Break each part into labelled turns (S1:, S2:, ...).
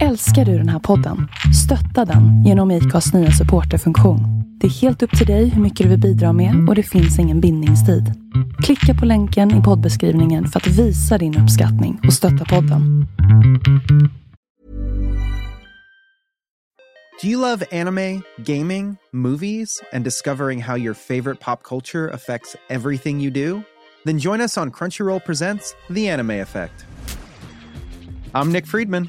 S1: Älskar du den här podden? Stötta den genom IKAs nya supporterfunktion. Det är helt upp till dig hur mycket du vill bidra med och det finns ingen bindningstid. Klicka på länken i poddbeskrivningen för att visa din uppskattning och stötta podden.
S2: Do you love anime, gaming, movies, and discovering how your favorite pop culture affects everything you do? Then join us on Crunchyroll Presents The Anime Effect. I'm Nick Friedman.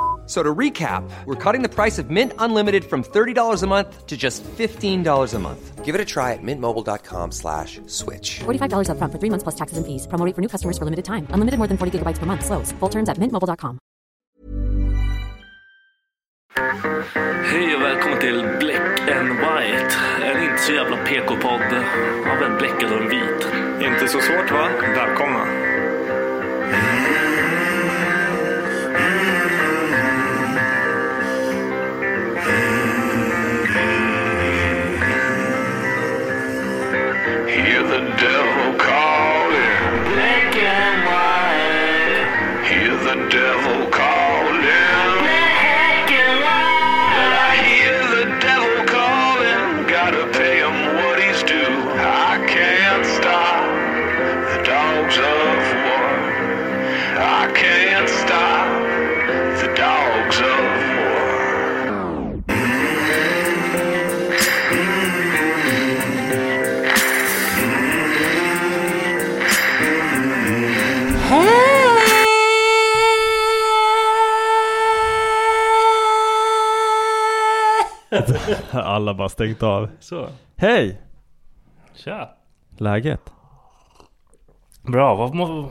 S3: So to recap, we're cutting the price of Mint Unlimited from $30 a month to just $15 a month. Give it a try at mintmobile.com slash switch.
S4: $45 up front for three months plus taxes and fees. Promo rate for new customers for limited time. Unlimited more than 40 gigabytes per month. Slows. Full terms at mintmobile.com.
S5: Hej och välkommen till Black and White. En inte så jävla PK-podd av en bläckad och en vit.
S6: Inte så svårt va? Välkomna.
S7: Hear the devil calling. Black and white. Hear the devil calling. Black and white. I hear the devil calling. Gotta pay him what he's due. I can't stop the dogs of war. I can't stop the dogs of war.
S8: Alla bara stängt av.
S5: Så,
S8: Hej!
S5: tja.
S8: Läget?
S5: Bra, vad må...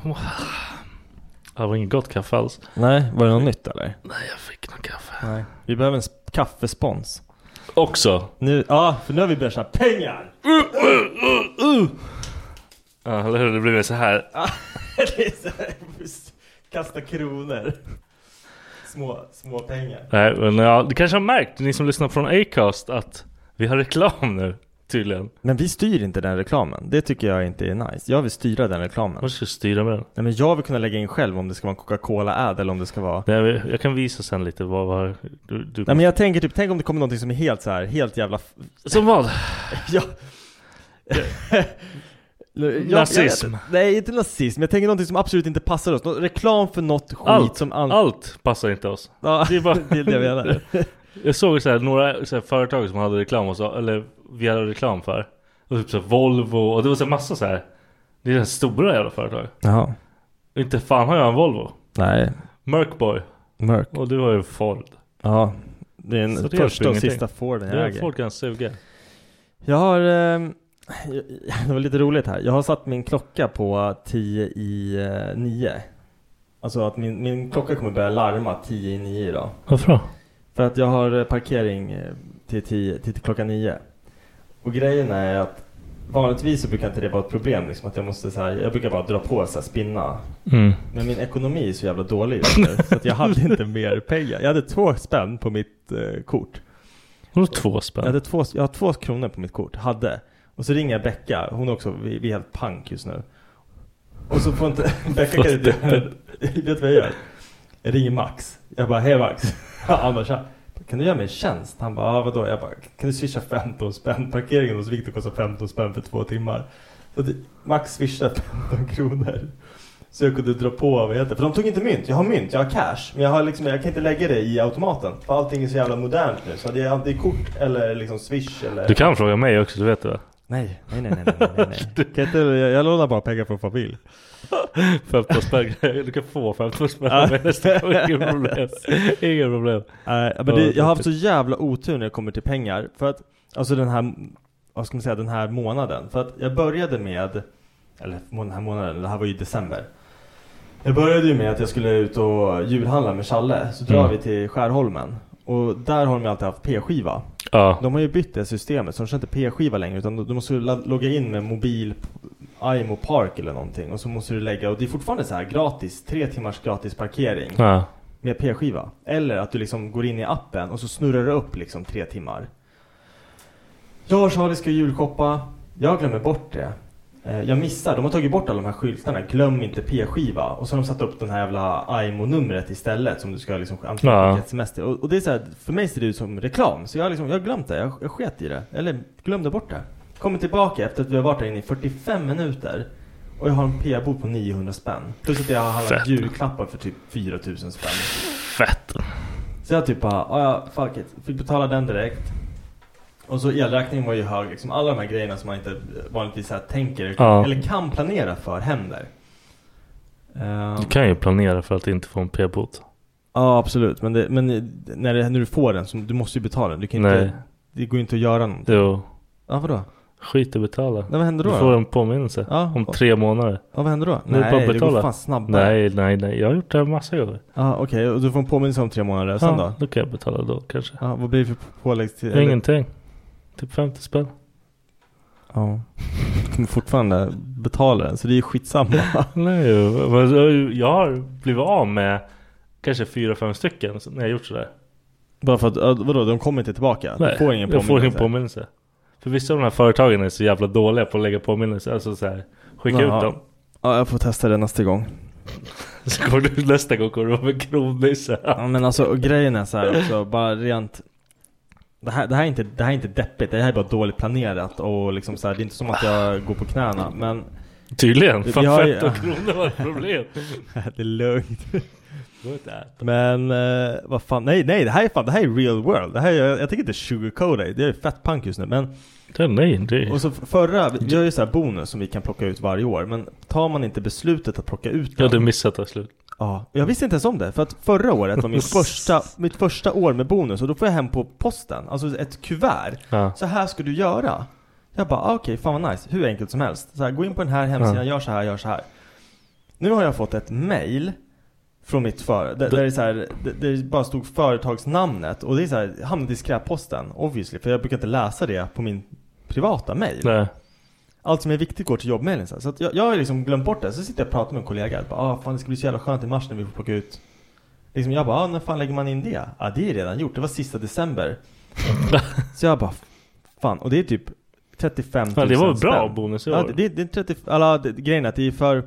S5: Det var inget gott kaffe alls.
S8: Nej, var det något nytt eller?
S5: Nej, jag fick någon kaffe.
S8: Nej. Vi behöver en sp- kaffespons.
S5: Också. Uh,
S8: Nu, ja, för nu har vi börjat tjäna pengar!
S5: Ja, eller hur? Det blir mer så här.
S8: Det är så här, just Kasta kronor. Små, små pengar.
S5: Nej, men ja, du kanske har märkt, ni som lyssnar från Acast, att vi har reklam nu. Tydligen.
S8: Men vi styr inte den reklamen. Det tycker jag inte är nice. Jag vill styra den reklamen.
S5: Vad ska jag styra med den?
S8: Nej men jag vill kunna lägga in själv om det ska vara en Coca-Cola-ad eller om det ska vara
S5: Nej, men Jag kan visa sen lite vad... vad du, du...
S8: Nej men jag tänker typ, tänk om det kommer någonting som är helt så här, helt jävla... f-
S5: Som vad?
S8: Ja. Jag- jag-
S5: Nazism.
S8: nej inte nazism, jag tänker någonting som absolut inte passar oss. Nå- Reklam för något skit
S5: Allt,
S8: som... an-
S5: allt passar inte oss.
S8: Ja,
S5: Det är bara-
S8: det är det jag menar.
S5: Jag såg så här, några så här, företag som hade reklam och så, eller vi hade reklam för. Och typ så här, Volvo och det var så här, massa så här. Det är så här stora jävla företag.
S8: Jaha.
S5: Inte fan har jag en Volvo.
S8: Nej,
S5: Merkboy.
S8: mörk.
S5: Och du har ju Ford.
S8: Ja. Det är
S5: Så
S8: den första
S5: det hjälper
S8: och
S5: ingenting.
S8: sista Forden
S5: Du
S8: jag
S5: har
S8: äger.
S5: Ford kan suga.
S8: Jag har... ehm, det var lite roligt här. Jag har satt min klocka på 10 i 9. Alltså att min, min klocka kommer börja larma 10 i 9 idag.
S5: Varför då?
S8: För att jag har eh, parkering eh, till, tio, till klockan nio. Och grejen är att vanligtvis så brukar inte det vara ett problem. Liksom, att jag, måste, så här, jag brukar bara dra på så här, spinna.
S5: Mm.
S8: Men min ekonomi är så jävla dålig just nu, så att jag hade inte mer pengar. Jag hade två spänn på mitt eh, kort.
S5: Vadå två
S8: Jag,
S5: spänn?
S8: hade två, jag har två kronor på mitt kort. Hade. Och så ringer jag Becka. Hon är också, vi, vi är helt pank just nu. Och så får inte Becka kan inte... Vet du vad jag gör? Jag ringer Max. Jag bara, hej Max. Han bara, tja. Kan du göra mig en tjänst? Han bara, ah, vadå? Jag bara, kan du swisha 15 spänn? Parkeringen hos Viktor kostar 15 spänn för två timmar. Så att Max swishar 15 kronor.
S7: Så jag kunde dra på, vad heter det? För de tog inte mynt. Jag har mynt, jag har cash. Men jag, har liksom, jag kan inte lägga det i automaten. För allting är så jävla modernt nu. Så det är antingen kort eller liksom swish eller...
S5: Du kan fråga mig också, du vet det va?
S7: Nej, nej, nej, nej, nej, nej. kan inte, jag, jag lånar bara pengar från familj.
S5: 15 spänn, du kan få 15 spänn av mig nästa gång, inga problem. Inga problem.
S7: Nej, men det, jag har haft så jävla otur när det kommer till pengar. För att, alltså den här, vad ska man säga, den här månaden. För att jag började med, eller må- den här månaden, det här var ju i december. Jag började ju med att jag skulle ut och julhandla med Challe. Så drar
S5: Mm.
S7: vi till Skärholmen. Och där har de ju alltid haft P-skiva.
S5: Ja.
S7: De har ju bytt det systemet så de kör inte P-skiva längre utan du måste ju la- logga in med mobil IMO Park eller någonting och så måste du lägga och det är fortfarande så här gratis, tre timmars gratis parkering
S5: Ja.
S7: med P-skiva. Eller att du liksom går in i appen och så snurrar du upp liksom tre timmar. Jag och Charlie ska julshoppa. Jag glömmer bort det. Eh, Jag missar. De har tagit bort alla de här skyltarna. Glöm inte P-skiva. Och så har de satt upp den här jävla IMO-numret istället som du ska liksom antingen
S5: Ja.
S7: skicka ett sms till. Och, och det är så här, för mig ser det ut som reklam. Så jag har liksom, jag har glömt det. Jag, jag sket i det. Eller glömde bort det. Kommer tillbaka efter att vi har varit där inne i 45 minuter. Och jag har en p-bot på 900 spänn. Plus att jag har handlat
S5: Fett.
S7: julklappar för typ 4000 spänn.
S5: Fett.
S7: Så jag typ bara, "Ah, ja fuck it. Fick betala den direkt. Och så elräkningen var ju hög. Liksom alla de här grejerna som man inte vanligtvis så här tänker
S5: Ja.
S7: eller kan planera för händer. Ehm,
S5: Du kan ju planera för att inte få en p-bot.
S7: Ja absolut. Men, det, men när, det, när du får den, så du måste ju betala den. Du kan
S5: Nej.
S7: inte, det går ju inte att göra någonting.
S5: Jo.
S7: Ja vadå?
S5: Skit i att betala.
S7: Nej, vad händer då
S5: Du får
S7: då?
S5: en påminnelse.
S7: Ja,
S5: Om
S7: och-
S5: tre månader.
S7: Ja, vad händer då?
S5: Nu är
S7: Nej,
S5: bara att
S7: det går
S5: betala.
S7: fan snabbare.
S5: Nej, nej, nej. Jag har gjort det här massa gånger.
S7: Ja okej, och du får en påminnelse om tre månader sen
S5: Ja,
S7: då?
S5: då kan jag betala då kanske.
S7: Ja, vad blir det för pålägg till? eller-
S5: Ingenting. Typ 50 spänn.
S7: Ja. Du kommer fortfarande betala den, så det är ju skitsamma.
S5: Nej, men jag- jag har blivit av med kanske fyra fem stycken när jag gjort sådär.
S7: Bara för att, ja, vadå, de kommer inte tillbaka?
S5: Nej,
S7: du får ingen
S5: jag
S7: påminnelse?
S5: får ingen påminnelse. För vissa av de här företagen är så jävla dåliga på att lägga påminnelser. Alltså så här, skicka
S7: Jaha.
S5: ut dem.
S7: Ja, jag får testa det nästa gång.
S5: Så går du, nästa gång kommer du vara med kronisse.
S7: Ja, men alltså och grejen är så här också, bara rent det här, det, här är inte, det här är inte deppigt, det här är bara dåligt planerat och liksom så här, det är inte som att jag går på knäna men
S5: Tydligen.
S7: Vi-
S5: Fan,
S7: vi har ju-
S5: 15 kronor var ett problem.
S7: Det är lugnt.
S5: Går inte att äta.
S7: Men eh, vad fan, nej nej det här är fan, det här är real world. Det här är, jag, jag tänker inte sugarcoat det, det är fett punk just nu men
S5: Det, nej, det...
S7: Och så förra, vi har ju så här bonus som vi kan plocka ut varje år men tar man inte beslutet att plocka ut
S5: Jag
S7: den
S5: hade missat det slut.
S7: Ja, jag visste inte ens om det. För att förra året var min första, mitt första år med bonus och då får jag hem på posten, alltså ett kuvert.
S5: Ja.
S7: Så här ska du göra. Jag bara, ah, okej, fan vad nice. Hur enkelt som helst. Så här, gå in på den här hemsidan,
S5: Ja.
S7: gör så här, gör så här. Nu har jag fått ett mail från mitt företag, där, där, det, är så här, där, där det bara stod företagsnamnet och det är så här, hamnade i skräpposten, obviously. För jag brukar inte läsa det på min privata mail.
S5: Nej.
S7: Allt som är viktigt går till jobbmailen sen. Så att jag, jag har liksom glömt bort det. Så sitter jag och pratar med en kollega. Jag Bara, ah, fan det ska bli så jävla skönt i mars när vi får plocka ut. Liksom jag bara, ah, när fan lägger man in det? ah, det är redan gjort. Det var sista december. så jag bara, fan. Och det är typ 35 000
S5: Ja, det var väl
S7: spänn.
S5: bra bonus i
S7: Ja,
S5: år.
S7: det, det är 30, alla, det, grejen är att det är för,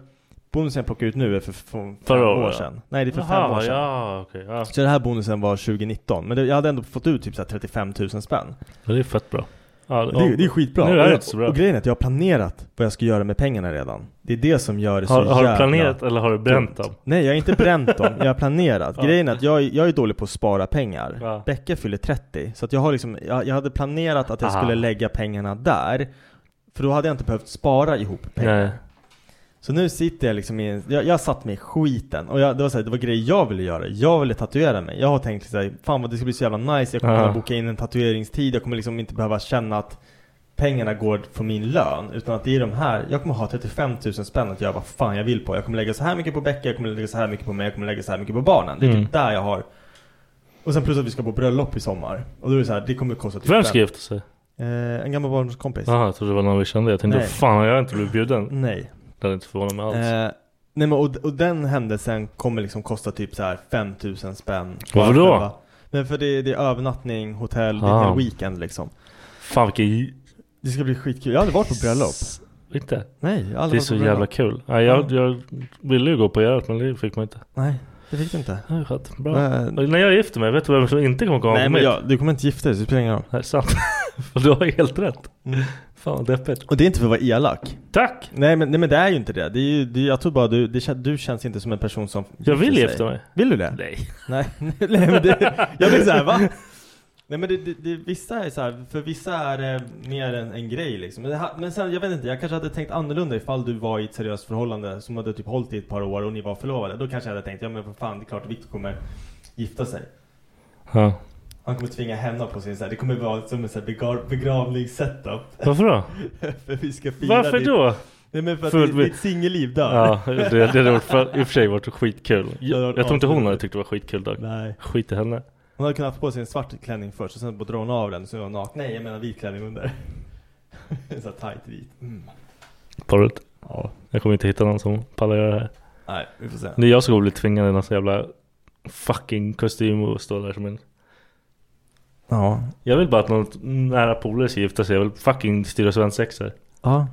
S7: bonusen jag plockar ut nu är för, för fem
S5: Förra
S7: år,
S5: året.
S7: sedan. Nej, det är för
S5: Jaha,
S7: fem år sedan.
S5: Ja, okej. ja.
S7: Så den här bonusen var 2019. Men det, jag hade ändå fått ut typ så här 35 000 spänn.
S5: Ja, det är fett bra. Ja,
S7: Det, är- det är skitbra.
S5: Nu
S7: Och
S5: är det
S7: jag-
S5: inte så bra.
S7: Och grejen är att jag har planerat vad jag ska göra med pengarna redan. Det är det som gör det
S5: har,
S7: så
S5: har du
S7: jävla
S5: planerat eller har du bränt
S7: dumt.
S5: dem?
S7: Nej, jag har inte bränt dem. Jag har planerat.
S5: Ja.
S7: Grejen är att jag, är- jag är dålig på att spara pengar.
S5: Ja.
S7: Becka fyller 30. Så att jag har liksom, jag, jag hade planerat att jag
S5: Ah.
S7: skulle lägga pengarna där. För då hade jag inte behövt spara ihop pengar.
S5: Nej.
S7: Så nu sitter jag liksom i en, jag, jag satt mig i skiten och jag, det, var så här, det var grejer jag ville göra, jag ville tatuera mig Jag har tänkt såhär, fan vad det ska bli så jävla nice, jag kommer
S5: Ja.
S7: kunna boka in en tatueringstid, jag kommer liksom inte behöva känna att pengarna går från min lön Utan att det är de här, jag kommer ha 35 000 spänn att göra vad fan jag vill på Jag kommer lägga så här mycket på Becka, jag kommer lägga så här mycket på mig, jag kommer lägga så här mycket på barnen Det är
S5: Mm.
S7: typ där jag har Och sen plus att vi ska på bröllop i sommar Och då är det så här, det kommer kosta typ
S5: Vem
S7: fem-
S5: ska gifta sig?
S7: Eh, en gammal barndomskompis
S5: Jaha, jag trodde det var någon vi kände. Jag tänkte
S7: Nej.
S5: fan jag har inte blivit bjuden.
S7: Nej
S5: Det hade inte förvånat mig alls.
S7: Eh, nej men och, och den händelsen kommer liksom kosta typ så här 5000 spänn.
S5: Varför då?
S7: Bara- Men för det, det är övernattning, hotell, det är en
S5: Ah.
S7: hel weekend liksom.
S5: Fan vilken...
S7: Det ska bli skitkul. Jag har aldrig varit på bröllop.
S5: Inte?
S7: Nej, jag
S5: Det är
S7: har aldrig varit
S5: så
S7: på bröllop.
S5: jävla kul. Ja, jag, jag ville ju gå på Gerhard men det fick man inte.
S7: Nej, det fick du inte.
S5: Ja, det är skönt. Bra.
S7: Men-
S8: Eh,
S5: Och När jag gifter mig, vet du vem som inte kommer komma
S7: Nej
S5: på
S7: men
S5: mitt?
S7: jag, du kommer inte gifta dig, så det spelar ingen roll.
S5: Nej, sant. Och du har helt rätt. Fan vad deppigt.
S8: Mm. Och det är inte för att vara elak.
S5: Tack!
S8: Nej men, nej, men det är ju inte det. det, är ju, det jag tror bara du, det, kän- du känns inte som en person som
S5: Jag vill
S8: gifter
S5: gifta
S8: sig.
S5: mig.
S8: Vill du det?
S5: Nej.
S8: Nej, nej men det, jag blir såhär va? Nej men det, det, det, vissa är så här, för vissa är det mer en, en grej liksom. Men, det, ha- men sen, jag vet inte, jag kanske hade tänkt annorlunda ifall du var i ett seriöst förhållande som hade typ hållit i ett par år och ni var förlovade. Då kanske jag hade tänkt, ja men för fan det är klart Victor kommer gifta sig.
S5: Ja.
S8: Han kommer tvinga henne på sin så här, det kommer vara som en så här begra- begravningssetup.
S5: Varför då?
S8: för vi ska fira
S5: Varför
S8: ditt-
S5: då?
S8: Nej men för att
S5: Fullt
S8: ditt,
S5: med-
S8: ditt singelliv dör.
S5: Ja, det, det hade varit för, i och för sig varit skitkul.
S8: Det hade
S5: Jag,
S8: varit
S5: jag tror inte hon
S8: asroligt.
S5: hade tyckt det var skitkul dock.
S8: Nej.
S5: Skit i henne.
S8: Hon hade kunnat ha på sig en svart klänning först och sen bara dra hon av den så är hon naken. Nej jag menar vit klänning under. en sån här tight vit. Mm.
S5: Porrigt.
S8: Ja.
S5: Jag kommer inte hitta någon som pallar göra det här.
S8: Nej, vi får se.
S5: Det är jag som kommer bli tvingad i någon sån jävla fucking kostym och stå där som en...
S8: Ja.
S5: Jag vill bara att någon nära polare ska gifta sig. Jag vill fucking styra svensexor.
S8: Ja.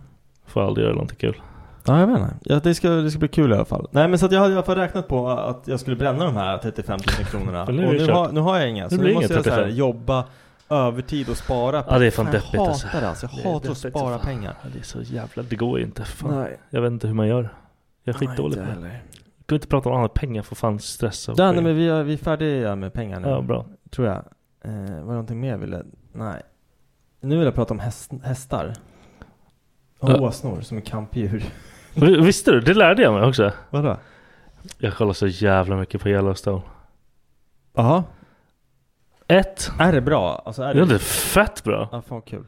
S5: Får aldrig göra någonting kul.
S8: Ja jag vet inte. Ja, det, ska, det ska bli kul i alla fall. Nej men så att jag hade i alla fall räknat på att jag skulle bränna de här 35 000 kronorna.
S5: Men nu är
S8: och
S5: det
S8: nu
S5: kört.
S8: har, nu har jag inga.
S5: Det
S8: Så
S5: blir
S8: nu måste
S5: inget
S8: jag så här,
S5: 35.
S8: jobba övertid och spara
S5: Ja det är fan
S8: Fan,
S5: deppigt
S8: jag
S5: alltså.
S8: hatar det alltså. Jag
S5: Det är
S8: hatar att
S5: deppigt som
S8: spara
S5: fan.
S8: pengar.
S5: Ja, Det är så jävla... Det går ju inte. för Fan.
S8: Nej.
S5: Jag vet inte hur man gör. Jag är
S8: Nej,
S5: skitdålig på
S8: inte
S5: det.
S8: heller.
S5: Jag kan inte prata om annat. Pengar får fan stressa. och
S8: Där, nej,
S5: pengar.
S8: men vi, är, vi är färdiga med pengar nu.
S5: Ja, bra.
S8: Tror jag. Eh, var det någonting mer jag ville? Nej. Nu vill jag prata om häst, hästar. Och
S5: Ja.
S8: åsnor som är kampdjur.
S5: Vi- Visste du? Det lärde jag mig också.
S8: Vadå?
S5: Jag kollar så jävla mycket på Yellowstone.
S8: Jaha.
S5: Ett.
S8: Är det bra? Alltså är
S5: Ja, det är fett bra.
S8: Ja, fan kul.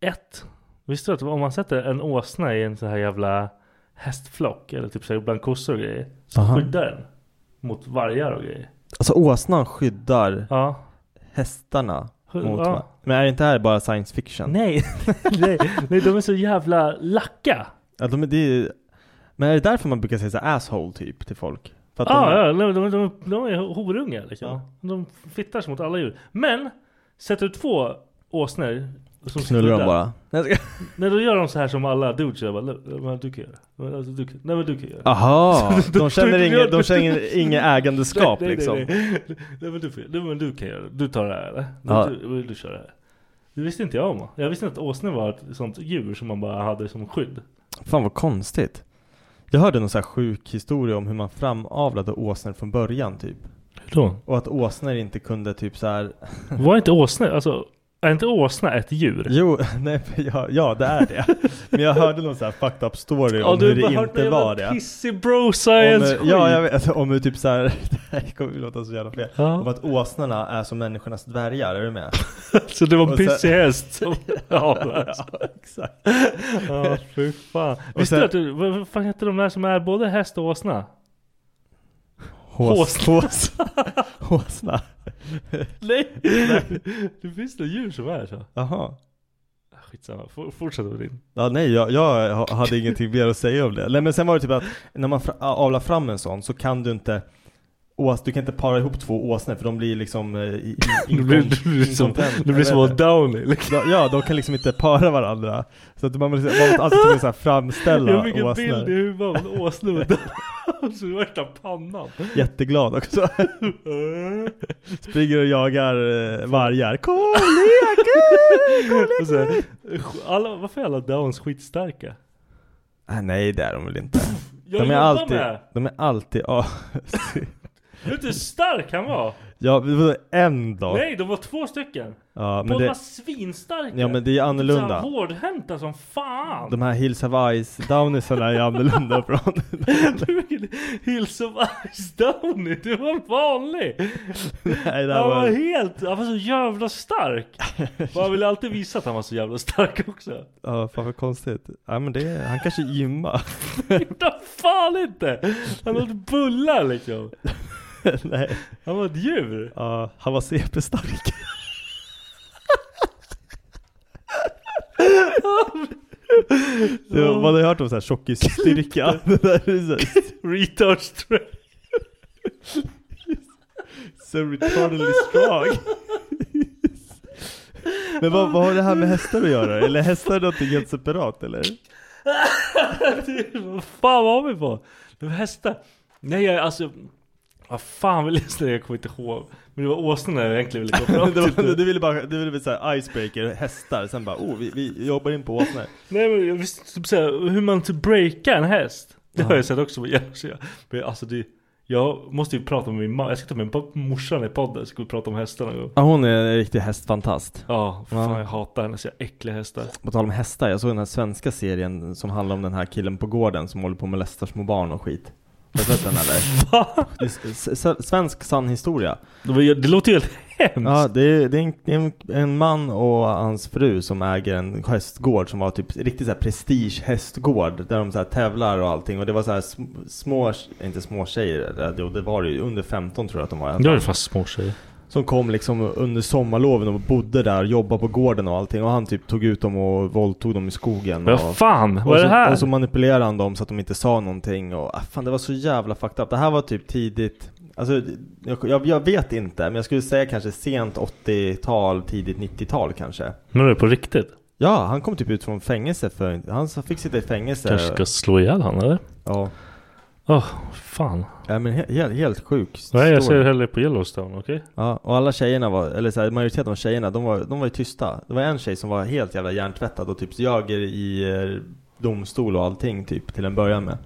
S5: Ett. Visste du att om man sätter en åsna i en så här jävla hästflock eller typ så här bland kossor och grejer. Så
S8: Aha.
S5: skyddar den. Mot vargar och grejer.
S8: Alltså åsnan skyddar
S5: Ja.
S8: hästarna
S5: Hu-
S8: mot
S5: ja.
S8: va- Men är det inte här bara science fiction?
S5: Nej. nej, nej, de är så jävla lacka.
S8: Ja, de, är- det är, men är det därför man brukar säga så här asshole typ till folk? För att
S5: Ja,
S8: de,
S5: ja, de, de, de, de är horungar liksom. De fittar sig mot alla djur. Men, sätter du två åsnor som
S8: Knullar de
S5: skyddar-
S8: bara?
S5: Nej då gör de så här som alla dudes gör. Bara, "Nej, men Du kan göra. Men alltså, du kan- Nej men du kan göra.
S8: Aha,
S5: Så
S8: de känner inget, de känner inget
S5: nej,
S8: ägandeskap
S5: nej,
S8: liksom.
S5: Nej, nej. nej men, du, får- nej, men du kan göra det. Du tar det här eller? Du,
S8: Ja.
S5: du, du kör det här. Det visste inte jag om. Jag visste inte att åsnor var ett sånt djur som man bara hade som skydd.
S8: Fan vad konstigt. Jag hörde någon så här sjuk historia om hur man framavlade åsnor från början typ.
S5: Hur då?
S8: Och att åsnor inte kunde typ så här.
S5: Var inte åsnor, alltså är inte åsna ett djur?
S8: Jo, nej, men ja, ja det är det. Men jag hörde någon så här fucked up story om hur det inte var det.
S5: Pissig bro
S8: Om,
S5: science
S8: eh, ja, jag vet, om hur typ så här, det här kommer ju låta så jävla fel.
S5: Ja.
S8: Om att åsnorna är som människornas dvärgar, är du med?
S5: Så det var en
S8: Och sen-
S5: pissig häst som avlades.
S8: exakt.
S5: Ja, fy fan. Visste
S8: sen-
S5: du att du, vad vad fan heter de där som är både häst och åsna?
S8: Hås,
S5: Åsna.
S8: hås, håsna.
S5: Nej! det finns några djur som är så.
S8: Jaha.
S5: Skitsamma, F- fortsätt med din.
S8: Ja, nej, jag, jag ha- hade ingenting mer att säga om det. Nej, men sen var det typ att när man fra- avlar fram en sån så kan du inte ås, du kan inte para ihop två åsnor för de blir liksom eh, i- i-
S5: Det blir,
S8: inkom-
S5: det blir som,
S8: inkompetenta,
S5: det blir som
S8: eller?
S5: att Downey liksom.
S8: Ja, Ja, de kan liksom inte para varandra. Så att man måste man måste alltid tvungen att så här
S5: Jag
S8: framställa
S5: fick en bild i
S8: åsnor.
S5: huvudet av en åsna med Downey. Så det värsta pannan.
S8: Jätteglad också. Springer och jagar eh, vargar. Kom, leka! Kom,
S5: Och så här, alla, varför är alla Downs skitstarka?
S8: leka! Nej, det är de väl inte.
S5: Jag
S8: De är
S5: jobbar
S8: alltid,
S5: med!
S8: de är alltid, ja.
S5: Vet du hur stark han var?
S8: Ja, det var en dag.
S5: Nej, de var två stycken.
S8: Ja, men
S5: Båda
S8: det,
S5: var svinstarka. Typ
S8: ja, men det är
S5: Så här
S8: annorlunda.
S5: Hårdhänta som fan.
S8: De här Hills Hawaii downisarna är annorlunda från...
S5: Hills of Ice Downey, du var vanlig!
S8: Nej, det här
S5: Han var
S8: var...
S5: helt, han var så jävla stark! Och han ville alltid visa att han var så jävla stark också.
S8: Ja, fan vad konstigt. Ja, men det, han kanske gymmar.
S5: Gjorde fan inte! Han åt bullar liksom.
S8: Nej.
S5: Han var ett djur.
S8: Ja, han var CP-stark. Det var, man har ju hört om så här tjockisstyrka. Det där är så här
S5: Retard strength.
S8: so retardedly strong. Men vad, vad har det här med hästar att göra? Eller hästar är något helt separat eller?
S5: Vad fan var vi på? Det var hästar. Nej jag, alltså.
S7: Vad fan vi lyssnade, jag kommer inte ihåg. Men det var åsnorna jag egentligen ville gå fram
S5: du,
S7: till. typ.
S5: var- du ville bara, du ville bli såhär icebreaker, hästar, sen bara oh vi, vi jobbar in på åsnor.
S7: Nej men jag visste typ såhär, hur man typ breakar en häst. Det har jag sett också på Jersey. Men alltså det, jag måste ju prata med min mamma. Jag ska ta med pa- morsan i podden så ska vi prata om hästarna. någon gång.
S5: Ja hon är en riktig hästfantast.
S7: Ja, fan jag hatar hennes jävla äckliga hästar.
S5: På tal om hästar, jag såg den här svenska serien som handlar om den här killen på gården som håller på med lästar små barn och skit. Har du sett den eller? Det är s- s- Svensk sann historia.
S7: Det, låter ju helt hemskt.
S5: Ja, det är, det är, en, det är en, en man och hans fru som äger en hästgård som var typ riktigt så här prestige hästgård där de så här tävlar och allting och det var så här sm- små, inte små
S7: eh,
S5: tjejer, det det var det ju, under 15 tror jag att de var i alla
S7: Det var
S5: fall.
S7: ju fast små tjejer.
S5: Som kom liksom under sommarloven och bodde där, jobbade på gården och allting och han typ tog ut dem och våldtog dem i skogen
S7: Vad
S5: och,
S7: fan, vad
S5: och
S7: är
S5: så,
S7: det här?
S5: Och så manipulerade han dem så att de inte sa någonting och ah, fan det var så jävla fucked up Det här var typ tidigt Alltså jag, jag, jag vet inte men jag skulle säga kanske sent 80-tal, tidigt 90-tal kanske
S7: Men är det på riktigt?
S5: Ja, han kom typ ut från fängelse för han fick sitta i fängelse
S7: Kanske ska slå ihjäl han eller?
S5: Ja
S7: Åh, fan.
S5: Ja men he- helt, helt sjukt
S7: Nej jag ser hellre på Yellowstone, okej?
S5: Ja, och alla tjejerna var, eller så här, majoriteten av tjejerna, de var, de var ju tysta. Det var en tjej som var helt jävla hjärntvättad och typ ljög i eh, domstol och allting typ till en början med.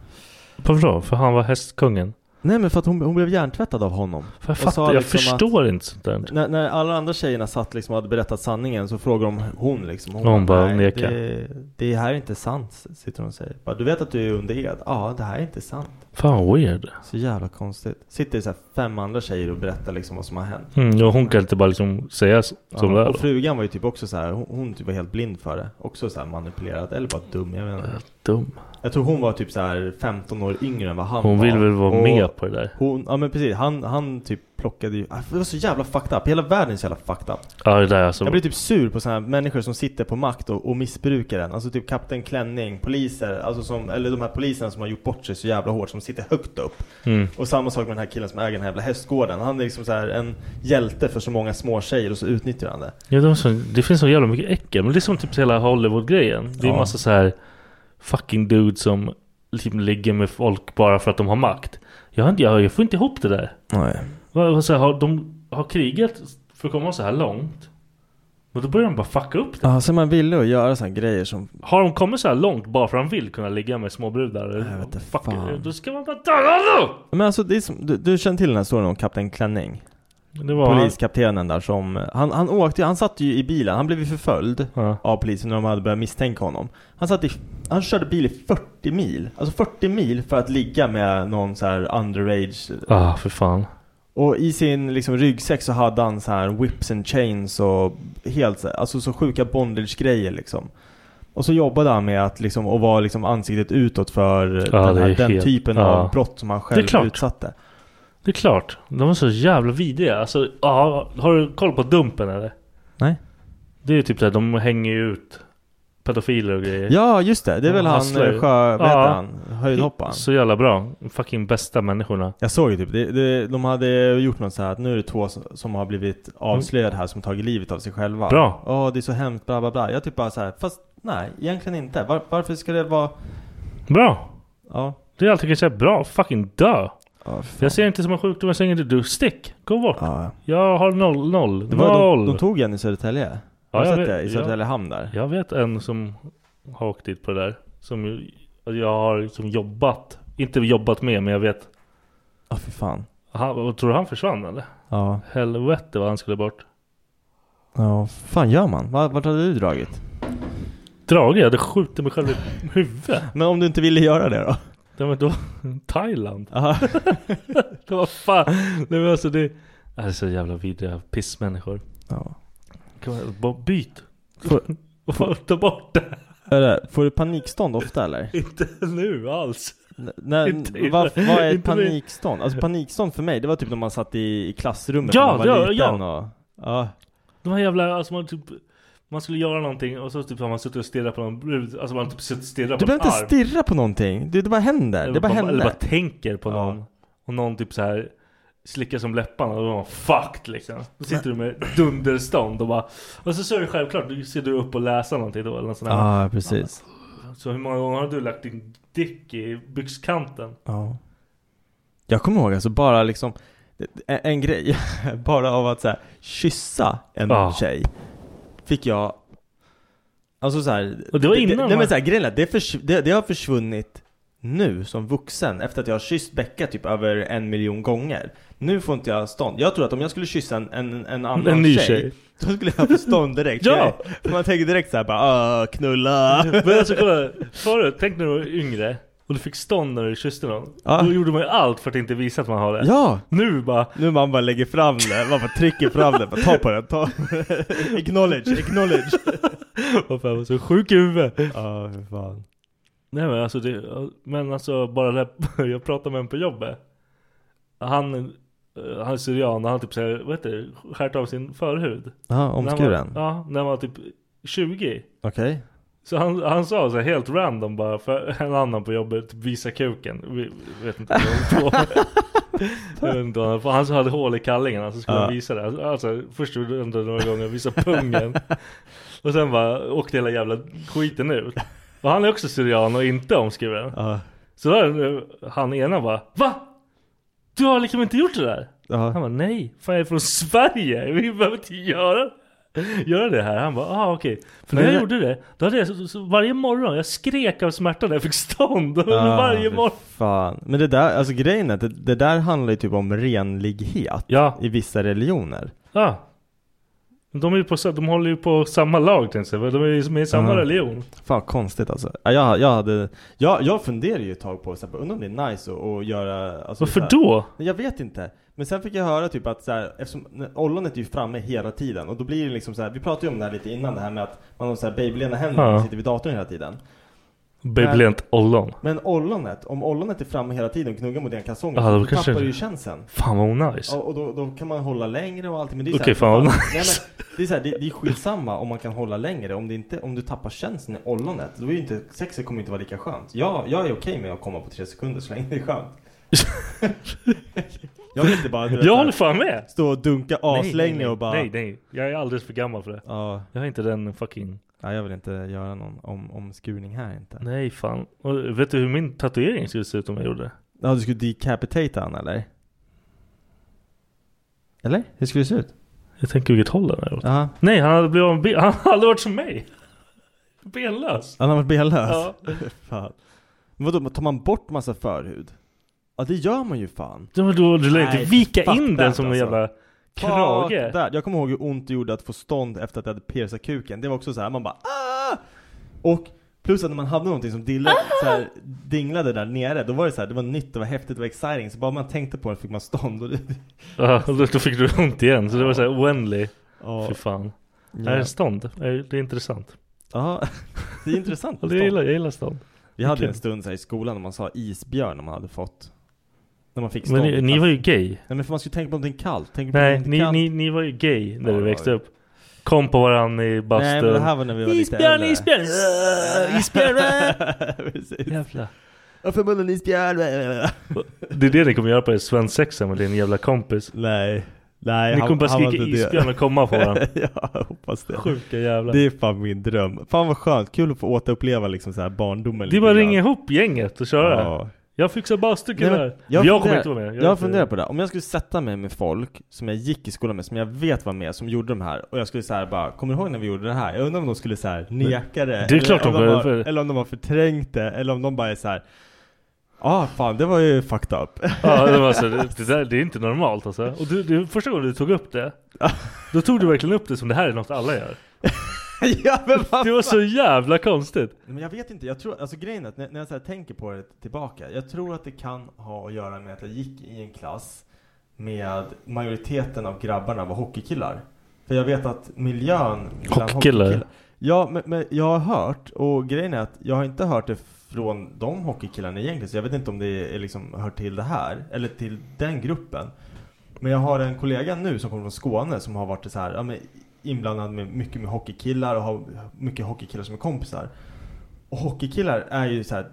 S7: Varför då? För han var hästkungen?
S5: Nej men för att hon, hon blev hjärntvättad av honom. liksom
S7: För jag fattar, jag förstår inte sånt där.
S5: När, när alla andra tjejerna satt liksom och hade berättat sanningen så frågade de hon liksom.
S7: Och hon bara
S5: "Nej,
S7: nekar."
S5: Det, det här är inte sant, sitter hon och säger. Bara, du vet att du är under ed? Ja, det här är inte sant.
S7: Fan vad weird.
S5: Så jävla konstigt. Sitter så här fem andra tjejer och berättar liksom vad som har hänt.
S7: Mm, och hon kan inte bara liksom säga s- som
S5: Ja,
S7: det är
S5: och
S7: då.
S5: frugan var ju typ också så här, hon, hon typ var helt blind för det. Också så här manipulerad, eller bara dum, jag vet inte.
S7: Dum.
S5: Jag tror hon var typ så här 15 år yngre än vad han
S7: Hon
S5: var.
S7: vill väl vara
S5: Och
S7: med på det där.
S5: Hon, ja men precis, han, han typ plockade
S8: Äh,
S5: ju, ah, det var så jävla fucked up. Hela världen är så jävla fucked up.
S7: Ja det där alltså.
S5: Jag blir typ sur på sådana här människor som sitter på makt och, och missbrukar den. Alltså typ Kapten Klänning, poliser, alltså som, eller de här poliserna som har gjort bort sig så jävla hårt, som sitter högt upp.
S7: Mm.
S5: Och samma sak med den här killen som äger den här jävla hästgården. Han är liksom så här en hjälte för så många små tjejer och så utnyttjar han det.
S7: Ja, det, var så, det finns så jävla mycket äckel. Men det är som typ hela Hollywood-grejen. Det är
S5: Ja.
S7: massa så här fucking dudes som liksom ligger med folk bara för att de har makt. Jag, har inte- jag, jag får inte ihop det där.
S5: Nej.
S7: Vad- vad så här, har, de har krigat för att komma så här långt. Men då börjar de bara fucka upp det.
S5: Ja, så man ville att göra sådana grejer som...
S7: Har de kommit så här långt bara för att de vill kunna ligga med småbrudar? Jag vet fuck,
S5: fan.
S7: Då ska man bara döda dem!
S5: Men alltså, det är som, du, du känner till den här storyn om Kapten Klänning?
S7: Det var-
S5: Poliskaptenen där som, han, han åkte ju- han satt ju i bilen, han blev ju förföljd av polisen när de hade börjat misstänka honom. Han satt i, han körde bil i 40 mil, alltså 40 mil för att ligga med någon så här underage
S7: Ah, för fan.
S5: och i sin liksom, ryggsäck så hade han så här whips and chains och helt så- alltså så sjuka bondage-grejer liksom. Och så jobbade han med att liksom, och var liksom ansiktet utåt för
S7: Ja,
S5: den,
S7: det
S5: här,
S7: är
S5: den
S7: helt-
S5: typen
S7: ja.
S5: av brott som han
S7: Det
S5: själv
S7: är klart.
S5: utsatte.
S7: Det är klart. De är så jävla vidriga. Alltså, ja, har du koll på Dumpen eller?
S5: Nej.
S7: Det är ju typ såhär, de hänger ju ut pedofiler och grejer.
S5: Ja, just det. Det är väl han,
S7: hasslar ju.
S5: eh, sjö- vad heter han? Höjdhopparen.
S7: Så jävla bra. De Fucking bästa människorna.
S5: Jag såg ju typ, det, det, de hade gjort något så här att nu är det två som, som har blivit avslöjade här som tagit livet av sig själva.
S7: Bra.
S5: Ja, det är så hemskt, bla bla bla. Jag typ bara så här, fast nej, egentligen inte. Var, varför ska det vara...
S7: Bra!
S5: Ja.
S7: Det är allt jag kan säga. Bra. Fucking dö!
S5: fan.
S7: jag ser inte som en sjukdom, jag ser inte du. Stick! Gå bort!
S5: Ja.
S7: Jag har noll, noll,
S5: Det var
S7: noll!
S5: de, de tog en i Södertälje.
S7: Ja,
S5: Har du
S7: jag
S5: sett
S7: vet-
S5: det? I
S7: ja.
S5: Södertälje hamn där.
S7: Jag vet en som har åkt dit på det där. Som ju- jag har liksom jobbat. Inte jobbat med, men jag vet.
S5: Ja, för fan.
S7: Han, vad tror du han försvann eller?
S5: Ja.
S7: Helvete vad han skulle bort.
S5: Ja, fan gör man? Va- Vart hade du dragit?
S7: Dragit? Jag hade skjutit mig själv i huvudet.
S5: Men om du inte ville göra det då?
S7: Nej men då, Thailand. det var fan. Nej men alltså det. Det är så jävla vidriga pissmänniskor.
S5: Ja.
S7: Kan man, bara byt.
S5: Får-
S7: Och bara ta bort det.
S5: Är det- Får du panikstånd ofta eller?
S7: Inte nu alls.
S5: Nej,
S7: Inte i-
S5: vad, vad är
S7: inte nu.
S5: panikstånd? Alltså panikstånd för mig, det var typ när man satt i, i klassrummet
S7: Ja,
S5: när man var
S7: ja,
S5: liten
S7: ja.
S5: och... Ja.
S7: De här jävla, alltså man typ man skulle göra någonting och så typ har man suttit och stirrat på någon brud, alltså man typ suttit och stirrat
S5: Du
S7: på en
S5: behöver inte
S7: arm.
S5: stirra på någonting, det, det bara händer.
S7: Eller
S5: Det bara
S7: bara-
S5: händer.
S7: Eller bara tänker på någon. Och någon typ så här slickar som läpparna och då är man fucked liksom. Då sitter du med dunderstånd och bara... Och så ser du självklart, du ser du upp och läser någonting då eller något sånt där.
S5: Ja, precis.
S7: Så hur många gånger har du lagt din dick i byxkanten?
S5: Ja.
S7: Jag kommer ihåg alltså bara liksom en, en grej, bara av att så här, kyssa en
S5: Ja.
S7: tjej fick jag Alltså så här,
S5: Och det var innan,
S7: det, nej,
S5: va?
S7: men så här, grejen är, att det, försv- det, det har försvunnit nu som vuxen efter att jag har kysst Becka typ över en miljon gånger Nu får inte jag stånd, jag tror att om jag skulle kyssa en, en, en annan
S5: En ny
S7: tjej,
S5: tjej.
S7: Då skulle jag få stånd direkt
S5: Ja!
S7: För Man tänker direkt såhär bara "Åh, knulla
S5: Men alltså kolla, förut, tänk när du var yngre och du fick stånd när du kysste någon.
S7: Ja.
S5: Då gjorde man ju allt för att inte visa att man har det.
S7: Ja!
S5: Nu bara,
S7: Nu man bara lägger fram det, man bara trycker fram det, bara ta på den, ta Acknowledge, acknowledge
S5: vad fan jag var så sjuk i huvudet.
S7: Ja, hur fan
S5: Nej men alltså, det, men alltså bara det här, jag pratade med en på jobbet. Han, eh, han är syrian och han typ såhär, vad heter det, skärt av sin förhud.
S7: Ja,
S5: När han
S7: omskuren?
S5: var- Ja, när han var typ 20.
S7: Okej
S5: Så han, han sa så här helt random bara för en annan på jobbet, typ, visa kuken. Vi, vi vet inte vad han höll på med. Jag vet inte vad han- för Han hade hål i kallingen, alltså skulle
S7: Ja.
S5: han visa det. Alltså först gjorde han det några gånger, visa pungen. Och sen bara åkte hela jävla skiten ut. Och han är också syrian och inte omskuren.
S7: Ja,
S5: Så då är han ena bara Va? Du har liksom inte gjort det där?
S7: ja,
S5: Han bara nej, fan jag är från Sverige, vi behöver inte göra, göra det här. Han bara ah okej. För när
S7: Men
S5: jag
S7: det-
S5: gjorde det, då hade jag så, så, varje morgon, jag skrek av smärta när jag fick stånd.
S7: Ah,
S5: varje
S7: fy
S5: morgon.
S7: Fan. Men det där, alltså grejen är att det, det där handlar ju typ om renlighet
S5: Ja,
S7: i vissa religioner
S5: ja. Ah. Men De, är ju på, sa- de håller ju på samma lag tänkte jag säga, de är ju med i samma
S7: Ja.
S5: religion.
S7: Fan vad konstigt alltså. Ja, Jag, jag hade, jag, jag funderade ju ett tag på så här, undrar om det är nice att, att göra alltså, så
S5: Varför
S7: här-
S5: då?
S7: Men Jag vet inte. Men sen fick jag höra typ att så här, eftersom när- ollonet är ju framme hela tiden och då blir det liksom så här, vi pratade ju om det här lite innan det här med att man har så här babylena händer
S5: Ja.
S7: och sitter vid datorn hela tiden.
S5: Babylent ollon.
S7: Men ollonet, om ollonet är framme hela tiden och knuggar mot dina kalsonger
S5: Ja, då
S7: då
S5: kanske-
S7: tappar du ju känseln.
S5: Fan vad nice.
S7: Ja, och då, då kan man hålla längre och allting. Men det är så
S5: Okej,
S7: här,
S5: fan vad
S7: fan, nej, men, det, är så här, det, det är skitsamma om man kan hålla längre. Om, det inte, om du tappar känslan i ollonet, då är ju inte, sexet kommer inte vara lika skönt. Jag, jag är okej med att komma på tre sekunder så länge det är skönt. jag vill inte bara du
S5: Jag
S7: vet, så här,
S5: håller fan med!
S7: stå och dunka
S5: Nej, nej, nej.
S7: aslänge och bara...
S5: Nej nej, jag är alldeles för gammal för det.
S7: Ja,
S5: Jag har inte den fucking...
S7: nej, jag vill inte göra någon om, omskurning här inte.
S5: Nej fan. Och vet du hur min tatuering skulle se ut om jag gjorde det?
S7: Ja, du skulle decapitata han eller? Eller? Hur skulle det se ut?
S5: Jag tänker vilket håll den är åt.
S7: Ja,
S5: Nej, han hade blivit av med ben. Han hade aldrig varit som mig. Benlös.
S7: han har varit benlös.
S5: Alltså. Ja.
S7: Fan. Men vadå, tar man bort massa förhud? Ja det gör man ju fan.
S5: Då, då, du lär inte
S7: Nej,
S5: vika
S7: fuck
S5: in den
S7: that,
S5: som en
S7: alltså.
S5: jävla
S7: Fuck
S5: krage.
S7: that. Jag kommer ihåg hur ont det gjorde att få stånd efter att jag hade piercat kuken. Det var också så här, man bara ah! Och plus att när man hade någonting som dillade, så här, dinglade där nere, då var det så här, det var nytt, det var häftigt, det var exciting. Så bara man tänkte på det fick man stånd. Och det,
S5: Ja, och då, då fick du ont igen. Så det var så här oändlig.
S7: Ja.
S5: Fy fan. Är
S7: ja.
S5: det stånd? Är- Det är intressant.
S7: Ja. det är intressant.
S5: Ja,
S7: med
S5: det- Jag
S7: stånd.
S5: gillar, jag gillar stånd.
S7: Vi hade
S5: Okej.
S7: en stund så här i skolan när man sa isbjörn när man hade fått. När man fick stånd.
S5: Men ni, ni var ju gay.
S7: Nej men för man skulle tänka på någonting kallt. Tänk på
S5: Nej,
S7: någonting
S5: ni,
S7: kallt.
S5: ni, ni var ju gay när
S7: Ja,
S5: du
S7: det
S5: växte
S7: var
S5: upp. Kom på varandra i
S7: Nej men det
S5: bastun.
S7: här var när vi var
S5: Isbjörn,
S7: lite äldre.
S5: isbjörn! Äh, Isbjörn!
S7: Precis.
S5: Jävlar.
S7: Varför munnen isbjörn?
S5: Det är det ni kommer göra på er svensexa med din jävla kompis.
S7: Nej. Nej,
S5: Ni kommer bara
S7: var
S5: skrika
S7: inte det.
S5: isbjörn och komma på varandra.
S7: ja, jag hoppas det.
S5: Sjuka jävlar.
S7: Det är fan min dröm. Fan vad skönt. Kul att få återuppleva liksom så här barndomen.
S5: Det är bara att ringa ihop gänget och köra.
S7: Ja.
S5: Jag fixar
S7: Nej,
S5: bastukulär.
S7: men
S5: Jag,
S7: jag
S5: jag kommer
S7: funderar-
S5: inte vara med.
S7: Jag, funderar på det. Om jag skulle sätta mig med folk som jag gick i skolan med, som jag vet var med, som gjorde de här. Och jag skulle så här bara, kommer du ihåg när vi gjorde det här? Jag undrar om de skulle så här neka det.
S5: Det är klart
S7: eller,
S5: de
S7: om
S5: bör-
S7: har,
S5: för-
S7: eller om de har förträngt det. Eller om de bara är så här. Ah fan, det var ju fucked up.
S5: Ja, det, var så, det, det där det är inte normalt alltså. Och du, du, första gången du tog upp det, då tog du verkligen upp det som det här är något alla gör.
S7: ja, men vad
S5: Det var så jävla konstigt.
S7: Men jag vet inte, jag tror, alltså grejen är att när, när jag så här tänker på det tillbaka, jag tror att det kan ha att göra med att jag gick i en klass med majoriteten av grabbarna var hockeykillar. För jag vet att miljön bland
S5: Hockeykillar?
S7: Ja, men, men jag har hört, och grejen är att jag har inte hört det från de hockeykillarna egentligen, så jag vet inte om det är liksom, hör till det här, eller till den gruppen. Men jag har en kollega nu som kommer från Skåne som har varit så här, ja, men inblandad med mycket med hockeykillar och har mycket hockeykillar som är kompisar. Och hockeykillar är ju så här,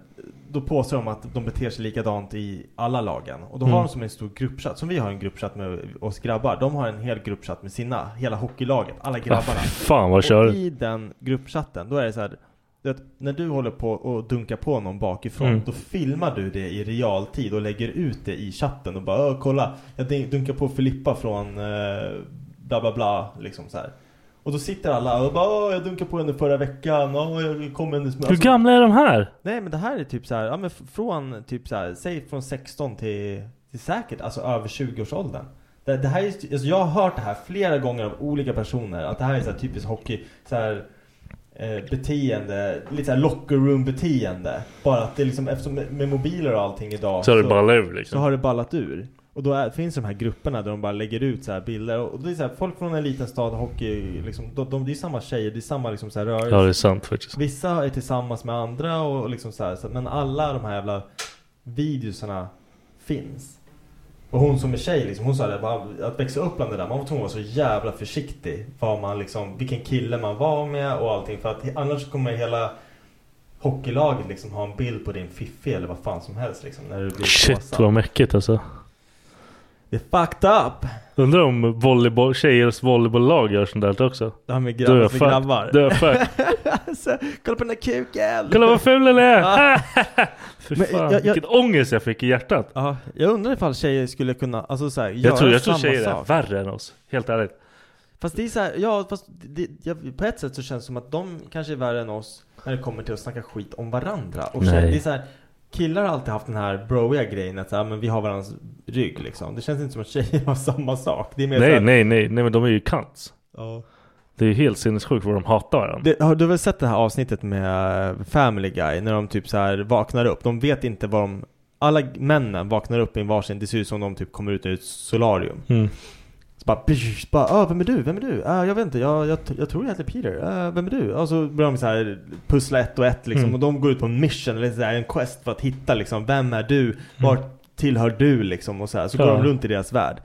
S7: då påstår de att de beter sig likadant i alla lagen. Och då har
S5: Mm.
S7: de som en stor gruppchatt, som vi har en gruppchatt med oss grabbar. De har en hel gruppchatt med sina, hela hockeylaget, alla
S5: Ah,
S7: grabbarna.
S5: fan vad
S7: Och
S5: kör.
S7: i den gruppchatten, då är det så här du vet, när du håller på och dunkar på någon bakifrån,
S5: Mm.
S7: då filmar du det i realtid och lägger ut det i chatten och bara "Åh, kolla, jag dun- dunkar på Filippa från eh, bla bla bla, liksom så här. Och då sitter alla och bara "Åh, jag dunkade på henne förra veckan, Åh, jag kom henne Alltså,
S5: Hur gamla är de här?
S7: Nej men det här är typ så här, ja, men f- från typ så här, säg från 16 till, till säkert alltså över 20-årsåldern. Det, det här är, ju- alltså jag har hört det här flera gånger av olika personer, att det här är så här typiskt hockey, så här, eh, beteende, lite så här locker room beteende. Bara att det liksom, eftersom med, med mobiler och allting idag
S5: Så har det ballat ur, liksom.
S7: Så har det ballat ur. Och då är, finns de här grupperna där de bara lägger ut så här bilder och det är så här, folk från en liten stad, hockey, liksom, de, de, det är samma tjejer, det är samma liksom så här rörelse.
S5: Ja, det är sant faktiskt.
S7: Typ. Vissa är tillsammans med andra och liksom så här, så, men alla de här jävla videosarna finns. Och hon som är tjej, liksom, hon sa det, bara, att växa upp bland det där, man var tvungen att vara så jävla försiktig. Vad man liksom, vilken kille man var med och allting. För att annars kommer hela hockeylaget liksom ha en bild på din fiffi eller vad fan som helst. Liksom, när du blir
S5: Shit
S7: påsatt.
S5: vad mäckigt alltså.
S7: Det är fucked up!
S5: Undrar om volleyboll, tjejers volleybolllag gör sånt där också.
S7: Det här med
S5: Då är
S7: grabbar
S5: jag
S7: för
S5: fucked.
S7: grabbar.
S5: Då är jag fucked.
S7: alltså, kolla på den där kuken!
S5: Kolla vad ful den är!
S7: Ja.
S5: Fy
S7: Men
S5: fan,
S7: jag- jag-
S5: vilken ångest jag fick i hjärtat.
S7: Ja, jag undrar ifall tjejer skulle kunna, alltså så här, göra
S5: Jag tror, jag tror
S7: samma
S5: tjejer är
S7: sak.
S5: värre än oss. Helt ärligt.
S7: Fast det är så här, ja fast det, jag, på ett sätt så känns det som att de kanske är värre än oss när det kommer till att snacka skit om varandra. Och
S5: Nej.
S7: tjejer, det är så här, killar har alltid haft den här broiga grejen att så här, men vi har varandras rygg liksom. Det känns inte som att tjejer har samma sak. Det är mer så
S5: Nej,
S7: här,
S5: nej, nej, nej men de är ju kants.
S7: Ja.
S5: Det är ju helt sinnessjukt vad de hatar varandra.
S7: Det, har du väl sett det här avsnittet med eh, Family Guy? När de typ så här vaknar upp. De vet inte vad de... Alla männen vaknar upp i en varsin. Det ser ut som de typ kommer ut ur ett solarium.
S5: Mm.
S7: Så bara, psh, bara ah, vem är du? Vem är du? Ah, jag vet inte, jag, jag, jag tror jag heter Peter. Ah, vem är du? Och så börjar de så här pussla ett och ett liksom.
S5: Mm.
S7: Och de går ut på en mission, eller så här, en quest för att hitta liksom, vem är du? Vart tillhör du liksom? Och så här. Så går
S5: Ja.
S7: de runt i deras värld.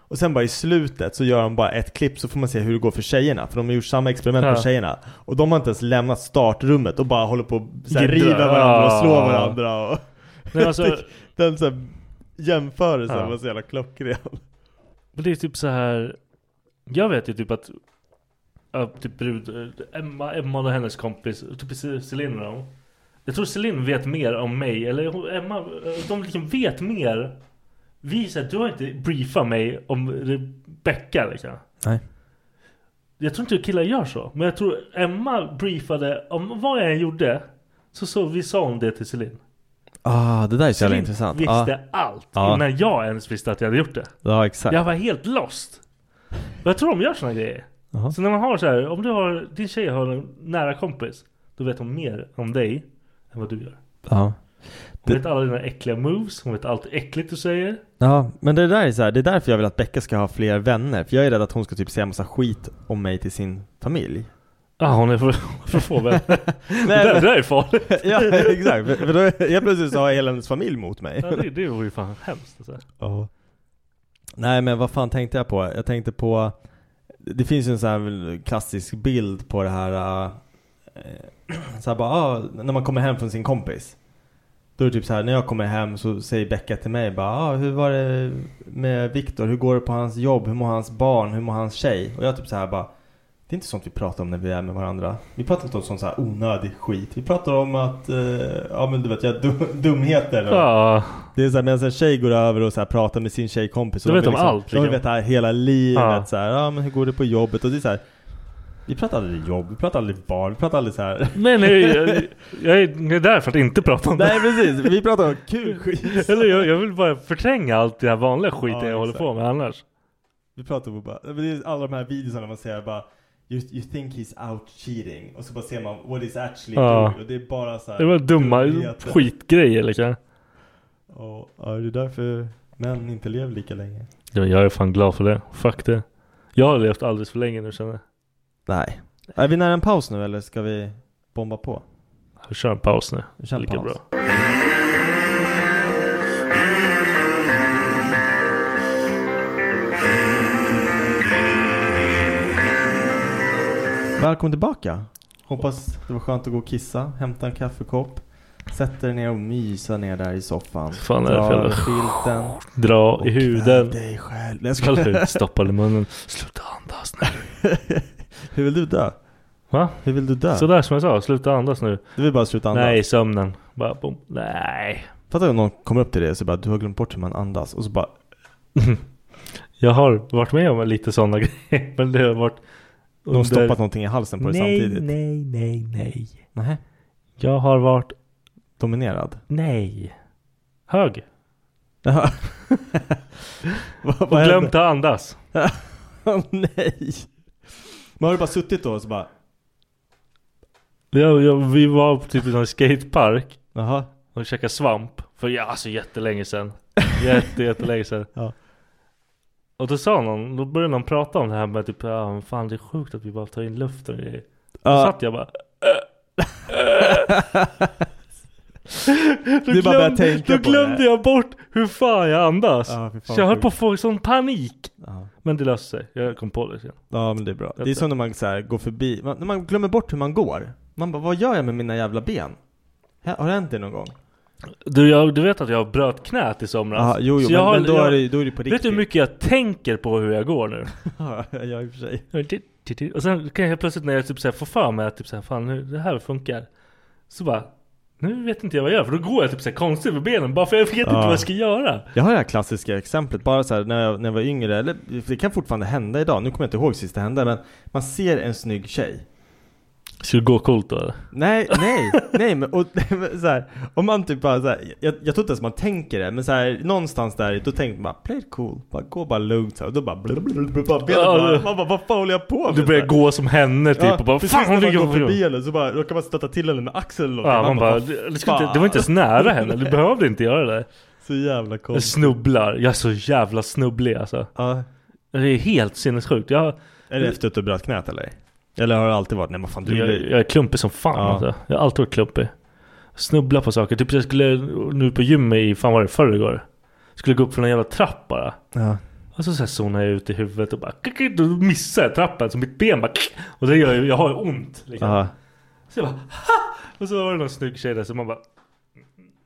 S7: Och sen bara i slutet så gör de bara ett klipp så får man se hur det går för tjejerna. För de har gjort samma experiment
S5: Ja.
S7: med tjejerna. Och de har inte ens lämnat startrummet och bara håller på och så här,
S5: Giddrar.
S7: river varandra och slår
S5: Ah.
S7: varandra. Och
S5: Nej, alltså,
S7: Den så här, jämförelsen
S5: Ja.
S7: var så jävla klockren.
S5: men det är typ så här. Jag vet ju typ att ja, typ brud, Emma, Emma och hennes kompis, typ Cel- Celine och de. Jag tror Celine vet mer om mig, eller hon- Emma, de liksom vet mer. Vi är så här, du har inte briefat mig om Rebecca liksom.
S7: Nej.
S5: Jag tror inte killar gör så. Men jag tror Emma briefade om vad jag än gjorde. Så, så vi sa om det till Celine.
S7: Ah, det där är
S5: Celine visste allt
S7: Ja.
S5: innan jag ens visste att jag hade gjort det.
S7: Ja, exakt.
S5: Jag var helt lost. Och jag tror de gör såna grejer.
S7: Jaha.
S5: Så när man har så här, om du har, din tjej har en nära kompis. Då vet hon mer om dig än vad du gör.
S7: Ja.
S5: Hon
S7: Det-
S5: vet alla dina äckliga moves, hon vet allt äckligt du säger.
S7: Ja, men det där är så här, det är därför jag vill att Becka ska ha fler vänner. För jag är rädd att hon ska typ säga massa skit om mig till sin familj.
S5: Ja, ah, hon är för, för få vänner.
S7: Nej,
S5: det, där-
S7: men-
S5: det där är farligt.
S7: ja, exakt. För, för då, jag plötsligt så har hela hennes familj mot mig.
S5: Ja, det, det vore ju fan hemskt. Alltså.
S7: Ja. Nej men vad fan tänkte jag på? Jag tänkte på Det finns ju en sån här väl klassisk bild på det här eh, så här bara, ah, när man kommer hem från sin kompis Då är det typ så här, när jag kommer hem så säger Becka till mig bara ah, Hur var det med Viktor? Hur går det på hans jobb? Hur mår hans barn? Hur mår hans tjej? Och jag typ så här bara Det är inte sånt vi pratar om när vi är med varandra Vi pratar inte om sånt så här onödig skit Vi pratar om att, eh, ja men du vet jag, dum, dumheter och-
S5: Ja,
S7: det är såhär medan en tjej går över och så här, pratar med sin tjejkompis och
S5: Då vet
S7: är
S5: de allt,
S7: De vill
S5: liksom.
S7: veta hela livet
S5: Ja.
S7: så här, ja men hur går det på jobbet? Och det är så här, Vi pratar aldrig jobb, vi pratar aldrig barn, vi pratar aldrig så här.
S5: men jag, jag, jag är jag är där för att inte prata om det.
S7: Nej precis, vi pratar om kul skit
S5: Eller jag, jag vill bara förtränga allt det här vanliga skiten
S7: Ja,
S5: jag håller
S7: exakt.
S5: på med annars.
S7: Vi pratar om bara, men det är alla de här videorna man ser bara You, you think he's out cheating och så bara ser man what is actually
S5: Ja.
S7: doing och det är bara så här,
S5: Det var dumma
S7: dumheter.
S5: skitgrejer liksom.
S7: Och, ja, det är därför män inte lever lika länge
S5: Ja, Jag är fan glad för det. Fuck det. Jag har levt alldeles för länge nu känner jag.
S7: Nej Är vi nära en paus nu eller ska vi bomba på?
S5: Jag kör en paus nu.
S7: Vi kör en
S5: Lika
S7: paus.
S5: bra.
S7: Välkommen tillbaka! Hoppas det var skönt att gå och kissa, hämta en kaffekopp Sätt dig ner och mysa ner där i soffan
S5: fan är det för jävla-
S7: filten
S5: Dra i
S7: Kväll
S5: huden.
S7: dig själv Jag
S5: Kolla hur
S7: skulle...
S5: stoppade munnen. Sluta andas nu.
S7: Hur vill du dö? Va?
S8: Hur vill du dö?
S7: Sådär som jag sa, sluta andas nu.
S8: Du vill bara sluta andas?
S7: Nej, sömnen. Bara, boom. Nej.
S8: Fattar om någon kommer upp till dig och så bara du har glömt bort hur man andas och så bara
S7: Jag har varit med om lite sådana grejer. Men det har varit
S8: de har stoppat någonting i halsen på dig
S7: nej,
S8: samtidigt.
S7: Nej, nej, nej.
S8: Nej.
S7: Jag har varit...
S8: Dominerad?
S7: Nej. Hög.
S8: Jaha.
S7: Och glömt att andas.
S8: Åh nej. Men har du bara suttit då och så bara
S7: Jag, jag, vi var på typ i en skatepark.
S8: Jaha.
S7: Och käkade svamp. För ja, alltså jättelänge sedan. Jätte, jättelänge sedan.
S8: Ja.
S7: Och då sa någon, då började någon prata om det här med typ, ja men fan det är sjukt att vi bara tar in luft och grejer. Då
S8: Ja.
S7: satt jag bara. Då
S8: Du bara började
S7: glömde-
S8: tänka
S7: Då
S8: på
S7: glömde
S8: det.
S7: jag bort hur fan jag andas.
S8: Ja, fy fan
S7: så jag
S8: vad
S7: höll på att
S8: sjukt.
S7: få sån panik.
S8: Ja.
S7: Men det löste sig. Jag kom på det sen.
S8: Ja men det är bra. Det är
S7: Jätte.
S8: som när man så här går förbi, man, när man glömmer bort hur man går. Man bara, vad gör jag med mina jävla ben? Hä- Har det hänt det någon gång?
S7: Du, jag, du vet att jag bröt knät i somras.
S8: Ja, jo, jo,
S7: Så
S8: men-
S7: jag har-
S8: men då
S7: jag-
S8: är det- då är det på
S7: Vet du hur
S8: riktigt.
S7: mycket jag tänker på hur jag går nu?
S8: Ja, i och för sig.
S7: Och sen kan jag plötsligt när jag typ så här får för mig att typ så här, fan nu, det här funkar. Så bara, nu vet inte jag vad jag gör för då går jag typ så här konstigt med benen bara för jag vet inte
S8: Ja.
S7: vad jag ska göra.
S8: Jag har det här klassiska exemplet, bara så här, när, jag, när jag var yngre, eller det kan fortfarande hända idag, nu kommer jag inte ihåg sist det hände, men man ser en snygg tjej.
S7: Ska det gå coolt då eller?
S8: Nej, nej, nej men och, men så här, om man typ bara så här, jag, jag tror inte ens man tänker det, men så här, någonstans där, då tänker man bara play it cool, bara, gå bara lugnt så här, och då bara, blablabla, bara, benet
S7: Ja,
S8: bara
S7: du-
S8: man bara, vad fan håller jag på med?
S7: Du börjar gå som henne typ och bara
S8: precis
S7: fan hon
S8: när
S7: ligger
S8: man går
S7: på
S8: förbi henne så bara råkar man stöta till henne med axeln eller
S7: Ja,
S8: någonting.
S7: man bara,
S8: vad
S7: det, det, skulle inte,
S8: fan?"
S7: det var inte ens nära henne, du behövde inte göra det.
S8: Så jävla
S7: Jag
S8: konstigt.
S7: snubblar, jag är så jävla snubblig alltså.
S8: Ja.
S7: Det är helt sinnessjukt. Jag,
S8: Är det efter att du bröt knät eller? Eller har det alltid varit, nej vad fan du
S7: jag,
S8: blir-
S7: jag är klumpig som fan
S8: Ja.
S7: alltså. Jag har alltid varit klumpig. Snubblar på saker. Typ jag skulle nu på gymmet i, fan var det, förrgår? Skulle gå upp för någon jävla trapp bara.
S8: Ja.
S7: Och så, så här zonar jag ut i huvudet och bara då missar jag trappen så mitt ben bara Och det gör jag, jag har ju ont liksom.
S8: Ja.
S7: Så jag bara Och så var det någon snygg tjej där så man bara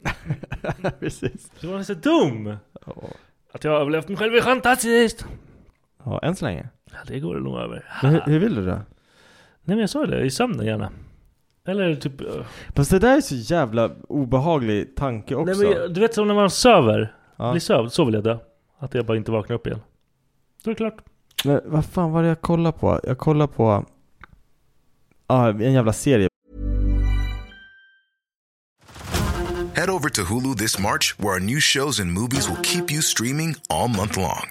S8: Precis.
S7: Så var det så dum! Att jag har överlevt mig själv är fantastiskt!
S8: Ja, än så länge.
S7: Ja, det går det nog över.
S8: Men hur, hur vill du då?
S7: Nej men jag sa det, i sömnen gärna. Eller typ... eh,
S8: Fast det där är så jävla obehaglig tanke också.
S7: Nej, men, jag- du vet som när man söver.
S8: Ja.
S7: Blir sövd, så vill jag dö. Att jag bara inte vaknar upp igen. Då är det klart.
S8: Men vad fan var det jag kollade på? Jag kollade på ah, en jävla serie.
S9: Head over to Hulu this March, where our new shows and movies will keep you streaming all month long.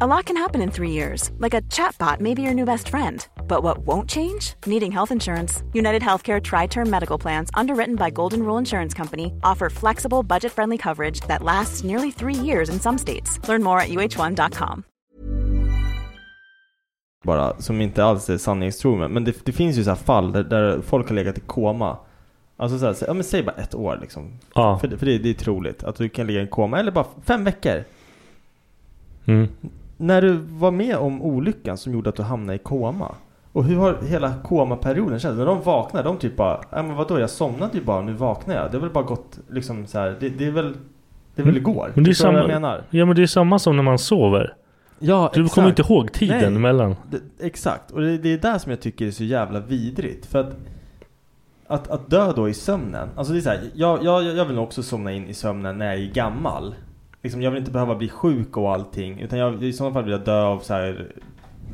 S5: A lot can happen in three years, like a chatbot may be your new best friend. But what won't change? Needing health insurance. United Healthcare Tri Term Medical Plans, underwritten by Golden Rule Insurance Company, offer flexible, budget friendly coverage that lasts nearly three years in some states. Learn more at uh1.com.
S8: bara som inte alls är sanningstrogen. Men det, det finns ju så här fall där, där folk har legat i koma. Alltså så här, så, ja, men säg bara ett år liksom.
S7: Ja.
S8: För, det- för det, det är troligt att du kan ligga i koma. Eller bara fem veckor.
S7: Mm.
S8: När du var med om olyckan som gjorde att du hamnade i koma. Och hur har hela komaperioden känts? När de vaknar, de typ bara, ja men vadå jag somnade ju bara, nu vaknar jag. Det har väl bara gått liksom så här, det, det är väl, det är väl igår.
S7: Mm. Men det är
S8: Förstår du
S7: samma,
S8: vad jag menar?
S7: Ja men det är samma som när man sover.
S8: Ja,
S7: du
S8: exakt.
S7: kommer inte ihåg tiden
S8: Nej.
S7: emellan.
S8: Det, exakt, och det, det är där som jag tycker det är så jävla vidrigt. För att, att, att dö då i sömnen. Alltså det är så här, jag, jag, jag vill nog också somna in i sömnen när jag är gammal. Liksom, jag vill inte behöva bli sjuk och allting. Utan jag, i sådana fall vill jag dö av, så här,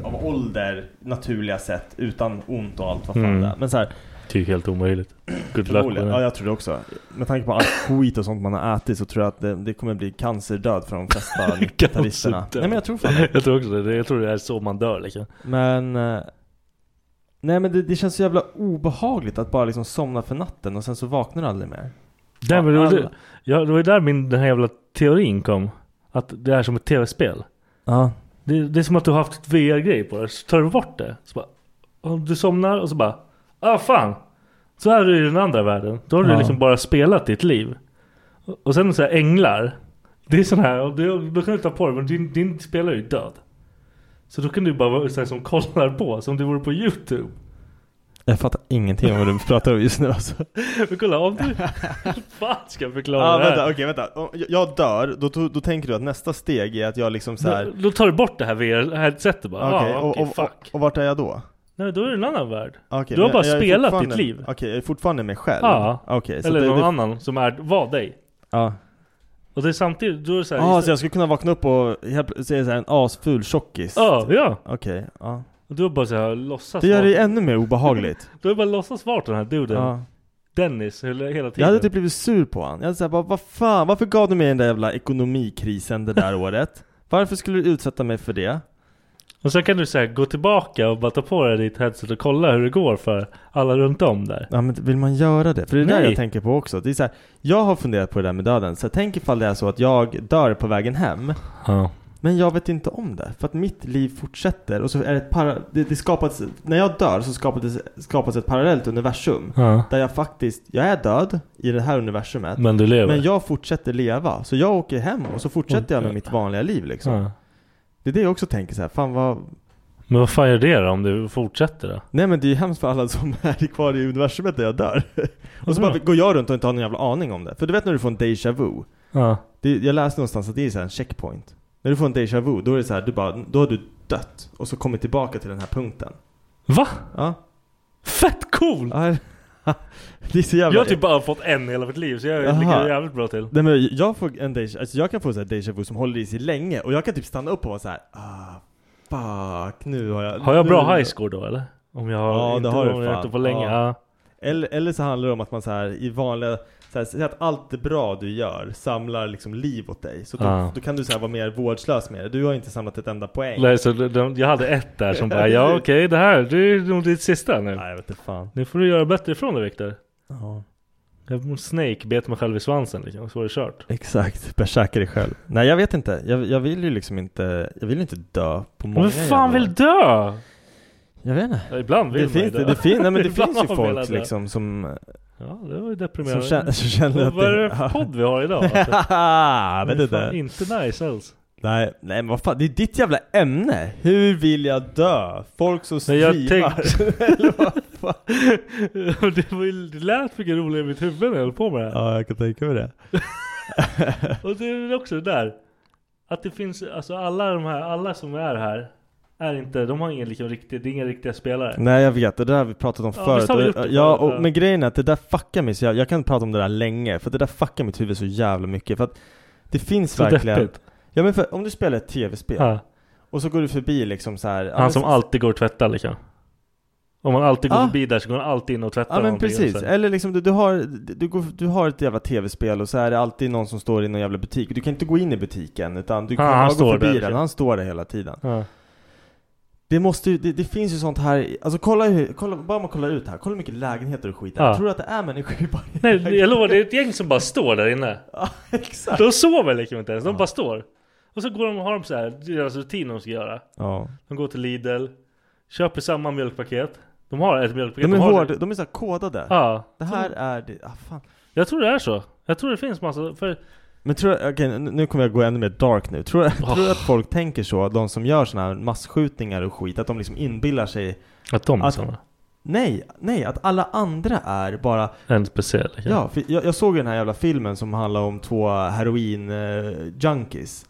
S8: av ålder, naturliga sätt. Utan ont och allt vad fan
S7: Mm.
S8: det är. Men så här,
S7: Det är ju helt omöjligt. Good luck med
S8: förmodligen. Ja,
S7: det.
S8: jag tror det också. Med tanke på allt skit och sånt man har ätit så tror jag att det, det kommer bli cancerdöd för de flesta 90-talisterna. Nej men jag tror fan det.
S7: Jag tror också det. Jag tror det är så man dör liksom.
S8: Men... eh, Nej men det, det känns så jävla obehagligt att bara liksom somna för natten och sen så vaknar du aldrig mer.
S7: Nej, men det, var,
S8: alla-
S7: det, ja, det var ju där min, den här jävla teorin kom. Att det är som ett tv-spel.
S8: Ja.
S7: Det, det är som att du har haft ett VR-grej på dig. Så tar du bort det. Så bara, och du somnar och så bara. Ah fan. Så här är det i den andra världen. Då har
S8: Ja.
S7: du liksom bara spelat ditt liv. Och
S5: Och sen så här, änglar. Det är sån här, och du, då kan du ta på dig, men din, din spelare är ju död. Så då kan du bara vara så här, som kollar på, som om det vore på YouTube.
S7: Jag fattar ingenting om vad du pratar om just nu alltså.
S5: Men kolla om du... fan ska jag förklara
S7: Ja
S5: det här?
S7: vänta, okej vänta. Om jag- Jag dör, då, då, då tänker du att nästa steg är att jag liksom så här.
S5: Då, då tar du bort det här VR-headsetet bara.
S7: Okej,
S5: ah,
S7: och,
S5: okej,
S7: och,
S5: fuck.
S7: och, och vart är jag då?
S5: Nej, då är det en annan värld.
S7: Okej,
S5: du har
S7: men
S5: bara
S7: jag- jag är
S5: spelat ditt
S7: fortfarande-
S5: liv.
S7: Okej, jag är fortfarande mig själv?
S5: Ja.
S7: Okej, så
S5: Eller
S7: det-
S5: någon
S7: det-
S5: annan som är, var dig.
S7: Ja.
S5: Och det är samtidigt, då är det så här,
S7: Ja,
S5: istället-
S7: så jag skulle kunna vakna upp och helt, se så här en asful tjockis?
S5: Ja, ja.
S7: Okej, ja.
S5: Och du har bara så här, låtsas
S7: Det gör det ju
S5: vara-
S7: ännu mer obehagligt.
S5: Du har bara låtsas vara den här duden.
S7: Ja.
S5: Dennis, hela hela
S7: Jag
S5: tiden.
S7: hade typ blivit sur på han. Jag hade såhär, vad fan, varför gav du mig den där jävla ekonomikrisen det där året? Varför skulle du utsätta mig för det?
S5: Och sen kan du säga gå tillbaka och bara ta på dig ditt headset och kolla hur det går för alla runt om där.
S7: Ja men vill man göra det? För det är det
S5: Nej.
S7: jag tänker på också. Det är så här, jag har funderat på det där med döden. Så här, tänk ifall det är så att jag dör på vägen hem.
S5: Ja.
S7: Men jag vet inte om det. För att mitt liv fortsätter och så är det ett para- det, det skapas, När jag dör så skapas, skapas ett parallellt universum.
S5: Ja.
S7: Där jag faktiskt, jag är död i det här universumet.
S5: Men du lever.
S7: Men jag fortsätter leva. Så jag åker hem och så fortsätter jag med mitt vanliga liv liksom.
S5: Ja.
S7: Det är det jag också tänker så här, fan vad...
S5: Men vad fan gör det då om du fortsätter då?
S7: Nej men det är ju hemskt för alla som är kvar i universumet där jag dör. Och så
S5: Vadå?
S7: bara går jag runt och inte har någon jävla aning om det. För du vet när du får en déjà vu?
S5: Ja.
S7: Det, jag läste någonstans att det är så här en checkpoint. När du får en déjà vu, då är det så här, du bara, då har du dött. Och så kommit tillbaka till den här punkten.
S5: Va?
S7: Ja.
S5: Fett cool!
S7: Ja, det är så jävla...
S5: Jag har typ bara fått en hela mitt liv så jag
S7: Aha.
S5: ligger jävligt bra till.
S7: Nej men jag får en déjà, alltså jag kan få så här déjà vu som håller i sig länge. Och jag kan typ stanna upp och vara så här, ah, fuck nu har jag...
S5: Har jag
S7: nu-
S5: bra high score då eller? Om jag har
S7: Ja,
S5: inte
S7: det har du
S5: om jag
S7: fan.
S5: inte på länge. Ja.
S7: Eller, eller så handlar det om att man så här i vanliga, så här, säg att allt det bra du gör samlar liksom liv åt dig. Så då,
S5: Ja.
S7: då kan du så här vara mer vårdslös med det. Du har inte samlat ett enda poäng.
S5: Nej, så de, de, jag hade ett där som bara ja okej det här det är nog ditt sista nu. Nej
S7: jag vet inte fan.
S5: Nu får du göra bättre ifrån dig Viktor.
S7: Ja.
S5: Jag snake bet mig själv i svansen liksom, så var det kört.
S7: Exakt, bärsärka dig själv. Nej jag vet inte, jag, jag vill ju liksom inte, jag vill ju inte dö på många
S5: Men fan
S7: jävla-
S5: vill dö?
S7: Jag vet inte.
S5: Ja, ibland vill
S7: det
S5: man ju
S7: finns,
S5: dö.
S7: det, det, fin, nej, men det
S5: Ibland
S7: finns ju
S5: vill man
S7: folk
S5: dö.
S7: liksom som...
S5: Ja det var ju deprimerande.
S7: Som känner- som känner att
S5: Vad är
S7: det-
S5: det för podd vi har idag? alltså?
S7: Haha, vet
S5: Det är
S7: inte.
S5: fan Inte nice alls.
S7: Nej, nej men vad fan, det är ditt jävla ämne! Hur vill jag dö? Folk som
S5: Nej, jag
S7: streamar.
S5: tänkte- det, var ju, det lät mycket roligare i mitt huvud när jag höll på med det här.
S7: Ja, jag kan tänka mig det.
S5: Och det är väl också det där. Att det finns, alltså alla de här, alla som är här. Är inte, de har ingen liksom riktig, det är inga riktiga spelare.
S7: Nej jag vet, det där har vi pratat om
S5: Ja,
S7: förut.
S5: visst har vi gjort det
S7: ja,
S5: förut,
S7: och,
S5: ja.
S7: men grejen är att det där fuckar mig så jag, jag kan prata om det där länge, för det där fuckar mitt huvud så jävla mycket. För att det finns
S5: Så
S7: verkligen...
S5: deppigt.
S7: Ja men för, om du spelar ett tv-spel,
S5: Ja.
S7: och så går du förbi liksom så här, ja, men
S5: Han som
S7: så-
S5: alltid går och tvättar liksom. Om man alltid går
S7: Ja.
S5: förbi där så går han alltid in och tvättar
S7: Ah. Ja men
S5: någonting och
S7: precis,
S5: så här.
S7: eller liksom du, du, har, du, går, du har ett jävla tv-spel och så är det alltid någon som står i någon jävla butik. Du kan inte gå in i butiken utan du kan
S5: han
S7: bara gå
S5: står
S7: förbi
S5: där,
S7: den,
S5: liksom.
S7: han står där hela tiden.
S5: Ja.
S7: Det, måste ju, det, det finns ju sånt här, alltså kolla, hur, kolla bara man kollar ut här, kolla hur mycket lägenheter och skit det är.
S5: Ja.
S7: Tror du att det är människor i varje
S5: Nej jag lovar, det är ett gäng som bara står där inne.
S7: exakt.
S5: De sover liksom inte ens, de bara står. Och så går de och har de så här, deras rutin de ska göra.
S7: Ja.
S5: De går till Lidl, köper samma mjölkpaket. De har ett mjölkpaket.
S7: De är,
S5: har
S7: hård, de är så här kodade.
S5: Ja.
S7: Det här är det, ah, fan.
S5: Jag tror det är så. Jag tror det finns massa, för
S7: Men tror jag, okej, nu- nu kommer jag gå ännu mer dark nu. Tror, tror du att folk tänker så, de som gör såna här massskjutningar och skit, att de liksom inbillar sig
S5: Att de är såna?
S7: Nej, nej, att alla andra är bara
S5: en speciell. liksom.
S7: Ja, för jag, jag såg ju den här jävla filmen som handlar om två heroin-junkies.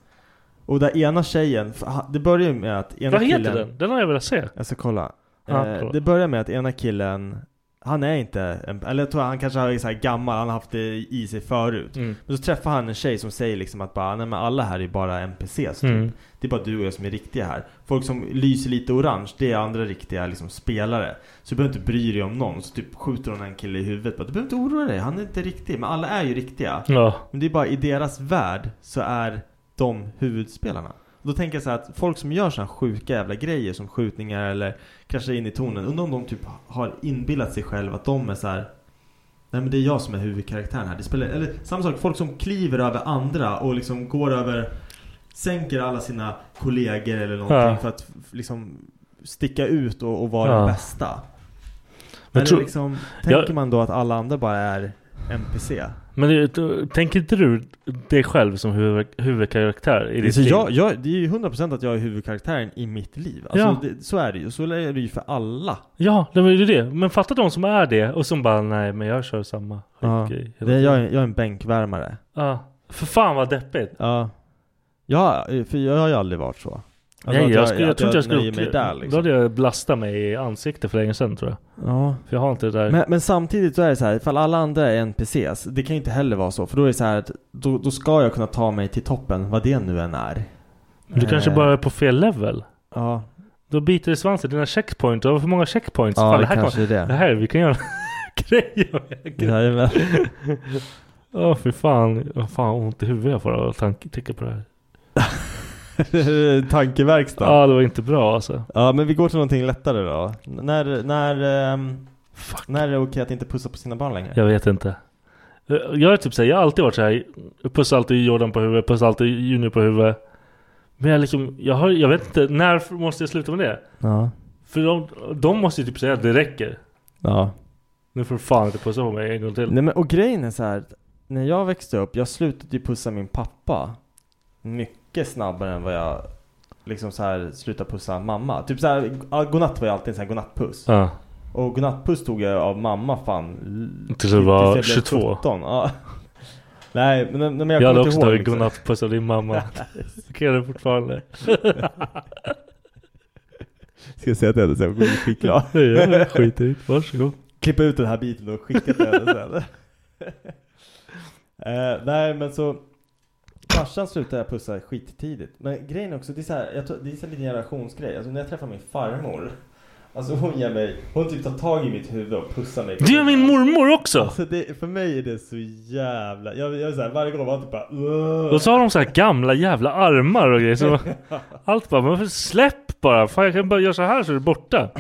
S7: och där ena tjejen, f- ha- det börjar ju med att ena
S5: Vad heter
S7: killen,
S5: den? Den har jag velat se.
S7: Jag ska kolla.
S5: Ja,
S7: eh,
S5: kolla.
S7: det börjar med att ena killen, han är inte, en, eller jag tror han kanske är så här gammal, han har haft det i sig förut.
S5: Mm.
S7: Men så träffar han en tjej som säger liksom att bara, nej men alla här är bara NPCs typ.
S5: Mm.
S7: Det är bara du och jag som är riktiga här. Folk som lyser lite orange, det är andra riktiga liksom spelare. Så du behöver inte bry dig om någon. Så typ skjuter hon en kille i huvudet. Bara, du behöver inte oroa dig, han är inte riktig. Men alla är ju riktiga.
S5: Ja.
S7: Men det är bara i deras värld så är de huvudspelarna. Och då tänker jag så här att folk som gör såna här sjuka jävla grejer som skjutningar eller kraschar in i tornen. Undrar om de typ har inbillat sig själv att de är så här. Nej men det är jag som är huvudkaraktären här. Det spelar, eller samma sak, folk som kliver över andra och liksom går över Sänker alla sina kollegor eller någonting
S5: Ja.
S7: för att f- liksom sticka ut och, och vara
S5: Ja.
S7: den bästa.
S5: Men
S7: Eller
S5: tror-
S7: liksom,
S5: jag-
S7: tänker man då att alla andra bara är NPC? Men du, tänker inte du dig själv som huvud, huvudkaraktär i ditt
S8: Alltså
S7: liv?
S8: jag, jag, det är ju 100% att jag är huvudkaraktären i mitt liv. Alltså,
S7: Ja.
S8: det, så är det ju. Så är det ju för alla.
S7: Ja, det är ju det. Men fatta de som är det och som bara nej men jag kör samma
S8: Ja.
S7: skitgrej.
S8: Det är, jag, är, jag är en bänkvärmare.
S7: Ja. För fan vad deppigt.
S8: Ja. Ja, för jag har ju aldrig varit så. Alltså
S7: nej,
S8: att
S7: jag, skulle, jag,
S8: att
S7: tror inte jag skulle...
S8: nöjer mig där liksom.
S7: Då hade jag blastat mig i ansiktet för länge sedan tror jag.
S8: Ja.
S7: För jag har inte det där.
S8: Men, men samtidigt så är det så här, ifall alla andra är NPCs, det kan ju inte heller vara så. För då är det så här att då, då ska jag kunna ta mig till toppen, vad det nu än är.
S7: Men du kanske
S8: Eh,
S7: bara är på fel level?
S8: Ja.
S7: Då biter det i svansen. Dina checkpoints, du har för många checkpoints.
S8: Ja, det
S7: här
S8: kanske är det.
S7: Det här, vi kan göra grejer med
S8: Jajamän.
S7: Ja, fy fan. Vad fan ont i huvudet jag får av att tank- tänka på det här.
S8: Tankeverkstad.
S7: Ja, det var inte bra alltså.
S8: Ja, men vi går till någonting lättare då. N- När, när, ehm, när är det okej att inte pussa på sina barn längre?
S7: Jag vet inte. Eh, Jag är typ såhär, jag har alltid varit såhär. Pussar alltid Jordan på huvudet, pussar alltid Junior på huvudet. Men jag liksom, jag, har, jag vet inte, när måste jag sluta med det?
S8: Ja.
S7: För de, de måste ju typ säga att det räcker.
S8: Ja.
S7: Nu får du fan inte pussa på mig en gång till.
S8: Nej men och grejen är så här, att när jag växte upp, jag slutade ju pussa min pappa mycket snabbare än vad jag liksom så här slutade pussa mamma. Typ så här, ah, godnatt var ju alltid en sån här godnattpuss.
S7: Ja.
S8: Och godnattpuss tog jag av mamma fan l-
S7: Tills du var
S8: tills jag blev
S7: 22.
S8: 17. Ja. Nej men, men- men jag,
S7: Jag, hade
S8: kommer
S7: också
S8: inte ihåg. liksom.
S7: tagit godnattpuss av din mamma. Okej, det fortfarande.
S8: Ska jag säga till henne sen? Hon kommer bli skitglad.
S7: Ja, skit i det. Varsågod.
S8: Klippa ut den här biten och skicka till henne sen. Eh, nej men så Farsan slutade jag pussa skittidigt. Men grejen är också, det är så här, jag tror, det är så här lite generationsgrej. Alltså när jag träffar min farmor. Alltså hon ger mig, hon typ tar tag i mitt huvud och pussar mig.
S7: Du är min mormor också!
S8: Alltså det, för mig är det så jävla, jag, jag är så här, varje gång var typ bara "Ugh."
S7: Och så har de så här gamla jävla armar och grejer. Så allt bara, men för släpp bara! Fan jag kan bara göra så här så är det borta.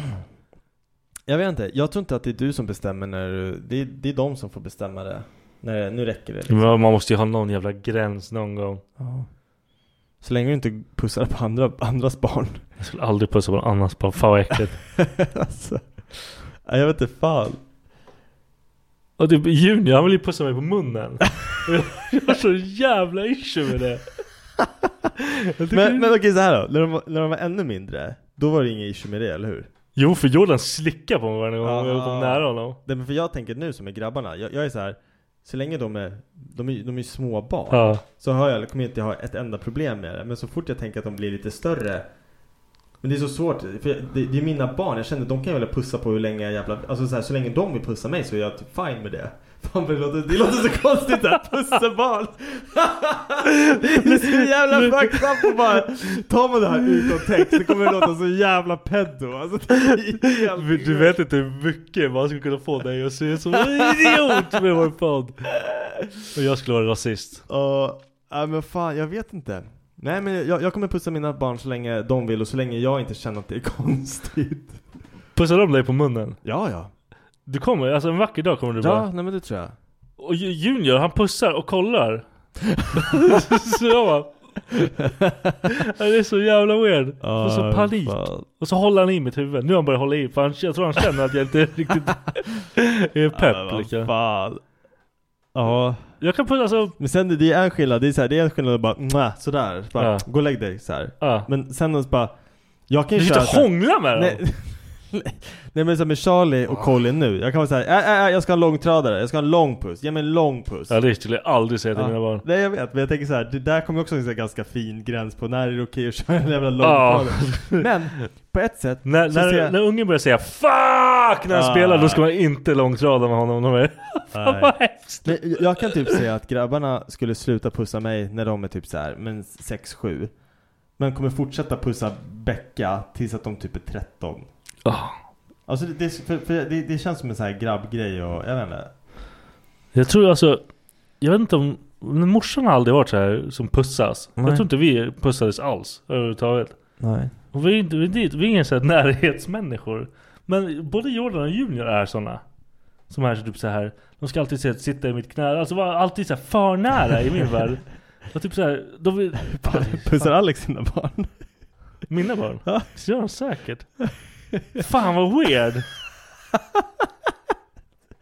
S8: Jag vet inte, jag tror inte att det är du som bestämmer när du, det, är- det är de som får bestämma det. När det, nu räcker det liksom.
S7: Men man måste ju ha någon jävla gräns någon gång.
S8: Så länge du inte pussar på andra, andras barn.
S7: Jag skulle aldrig pussa på någon annans barn. Fan vad äckligt.
S8: alltså, nej, jag vet inte fan.
S7: Och typ Junior, han vill ju pussa mig på munnen. Och jag- jag har så jävla issue med det.
S8: Men, men okej så här då, när de, var- när de var ännu mindre, då var det inga issue med det, eller hur?
S7: Jo, för Jordan slickar på mig varje gång jag
S8: Ah.
S7: kom nära honom.
S8: Nej men för jag tänker nu som är grabbarna, jag, jag är så här. Så länge de är, de är, de är ju små barn
S7: Ja.
S8: Så har jag, kommer jag inte ha ett enda problem med det Men så fort jag tänker att de blir lite större Men det är så svårt, för jag, det, det är mina barn Jag känner att de kan väl pussa på hur länge jag jävla Alltså så, här, så länge de vill pussa mig så är jag typ fine med det Fan vad det låter, det låter så konstigt att pussa barn Det är så jävla fucked up och bara Tar man det här utan text det kommer det låta så jävla pedo alltså, det är helt-
S7: Du vet inte hur mycket man skulle kunna få dig att se som en idiot med vår podd. Och jag skulle vara rasist.
S8: Ja, nej, men fan jag vet inte. Nej men jag, jag kommer pussa mina barn så länge de vill och så länge jag inte känner att det är konstigt.
S7: Pussar de dig på munnen?
S8: Ja, ja.
S7: Du kommer, alltså en vacker dag kommer du
S8: Ja,
S7: bara.
S8: nej men det tror jag.
S7: Och Ju- Junior, han pussar och kollar. så jag bara... Det är så jävla weird.
S8: Ja,
S7: och så panik.
S8: fan.
S7: Och så håller han i mitt huvud. Nu har han börjat hålla i för han, jag tror han känner att jag inte riktigt är
S8: men
S7: pepp.
S8: vad
S7: liksom.
S8: fan. Ja.
S7: Jag kan pussa, alltså.
S8: Men sen det- det är en skillnad, det är, så här, det är en skillnad att bara "Mwah", sådär. Bara,
S7: Ja.
S8: Gå och lägg dig så här.
S7: Ja.
S8: Men sen är det bara. Jag kan ju
S7: Du
S8: köra
S7: sitter och
S8: så här-
S7: hånglar med dem.
S8: Nej. Nej men så här med Charlie
S7: Ah.
S8: och Colin nu, jag kan vara såhär, äh, äh, jag ska ha en långtradare, jag ska ha en lång puss, ge mig en lång puss
S7: Ja, det skulle jag aldrig säga till
S8: Ja.
S7: mina barn.
S8: Nej jag vet, men jag tänker så här, det där kommer ju också en sån här ganska fin gräns på när är det okej att köra en jävla
S7: Ja.
S8: långtradare Men, på ett sätt
S7: När,
S8: så ser
S7: när,
S8: jag-
S7: när ungen börjar säga 'FUCK' när han
S8: Ah.
S7: spelar, då ska man inte långtrada med honom. De är,
S8: Nej.
S7: fan vad hemskt!
S8: Men jag- jag kan typ säga att grabbarna skulle sluta pussa mig när de är typ så här, men 6-7 Men kommer fortsätta pussa Becka tills att de typ är 13
S7: Ja.
S8: Alltså det, det, för, för det, det känns som en sån här grabbgrej och, jag vet inte
S7: Jag tror alltså, jag vet inte om, men morsan har aldrig varit så här som pussas.
S8: Nej.
S7: Jag tror inte vi pussades alls överhuvudtaget.
S8: Nej
S7: Och vi är inte, vi är, inte- vi är inga så här närhetsmänniskor. Men både Jordan och Junior är sådana. Som är så typ så här. de ska alltid så här, sitta i mitt knä, alltså vara alltid så här för nära i min värld. Och typ så här, de vill...
S8: Pussar Alex sina barn?
S7: Mina barn? Så gör de säkert. Fan vad weird!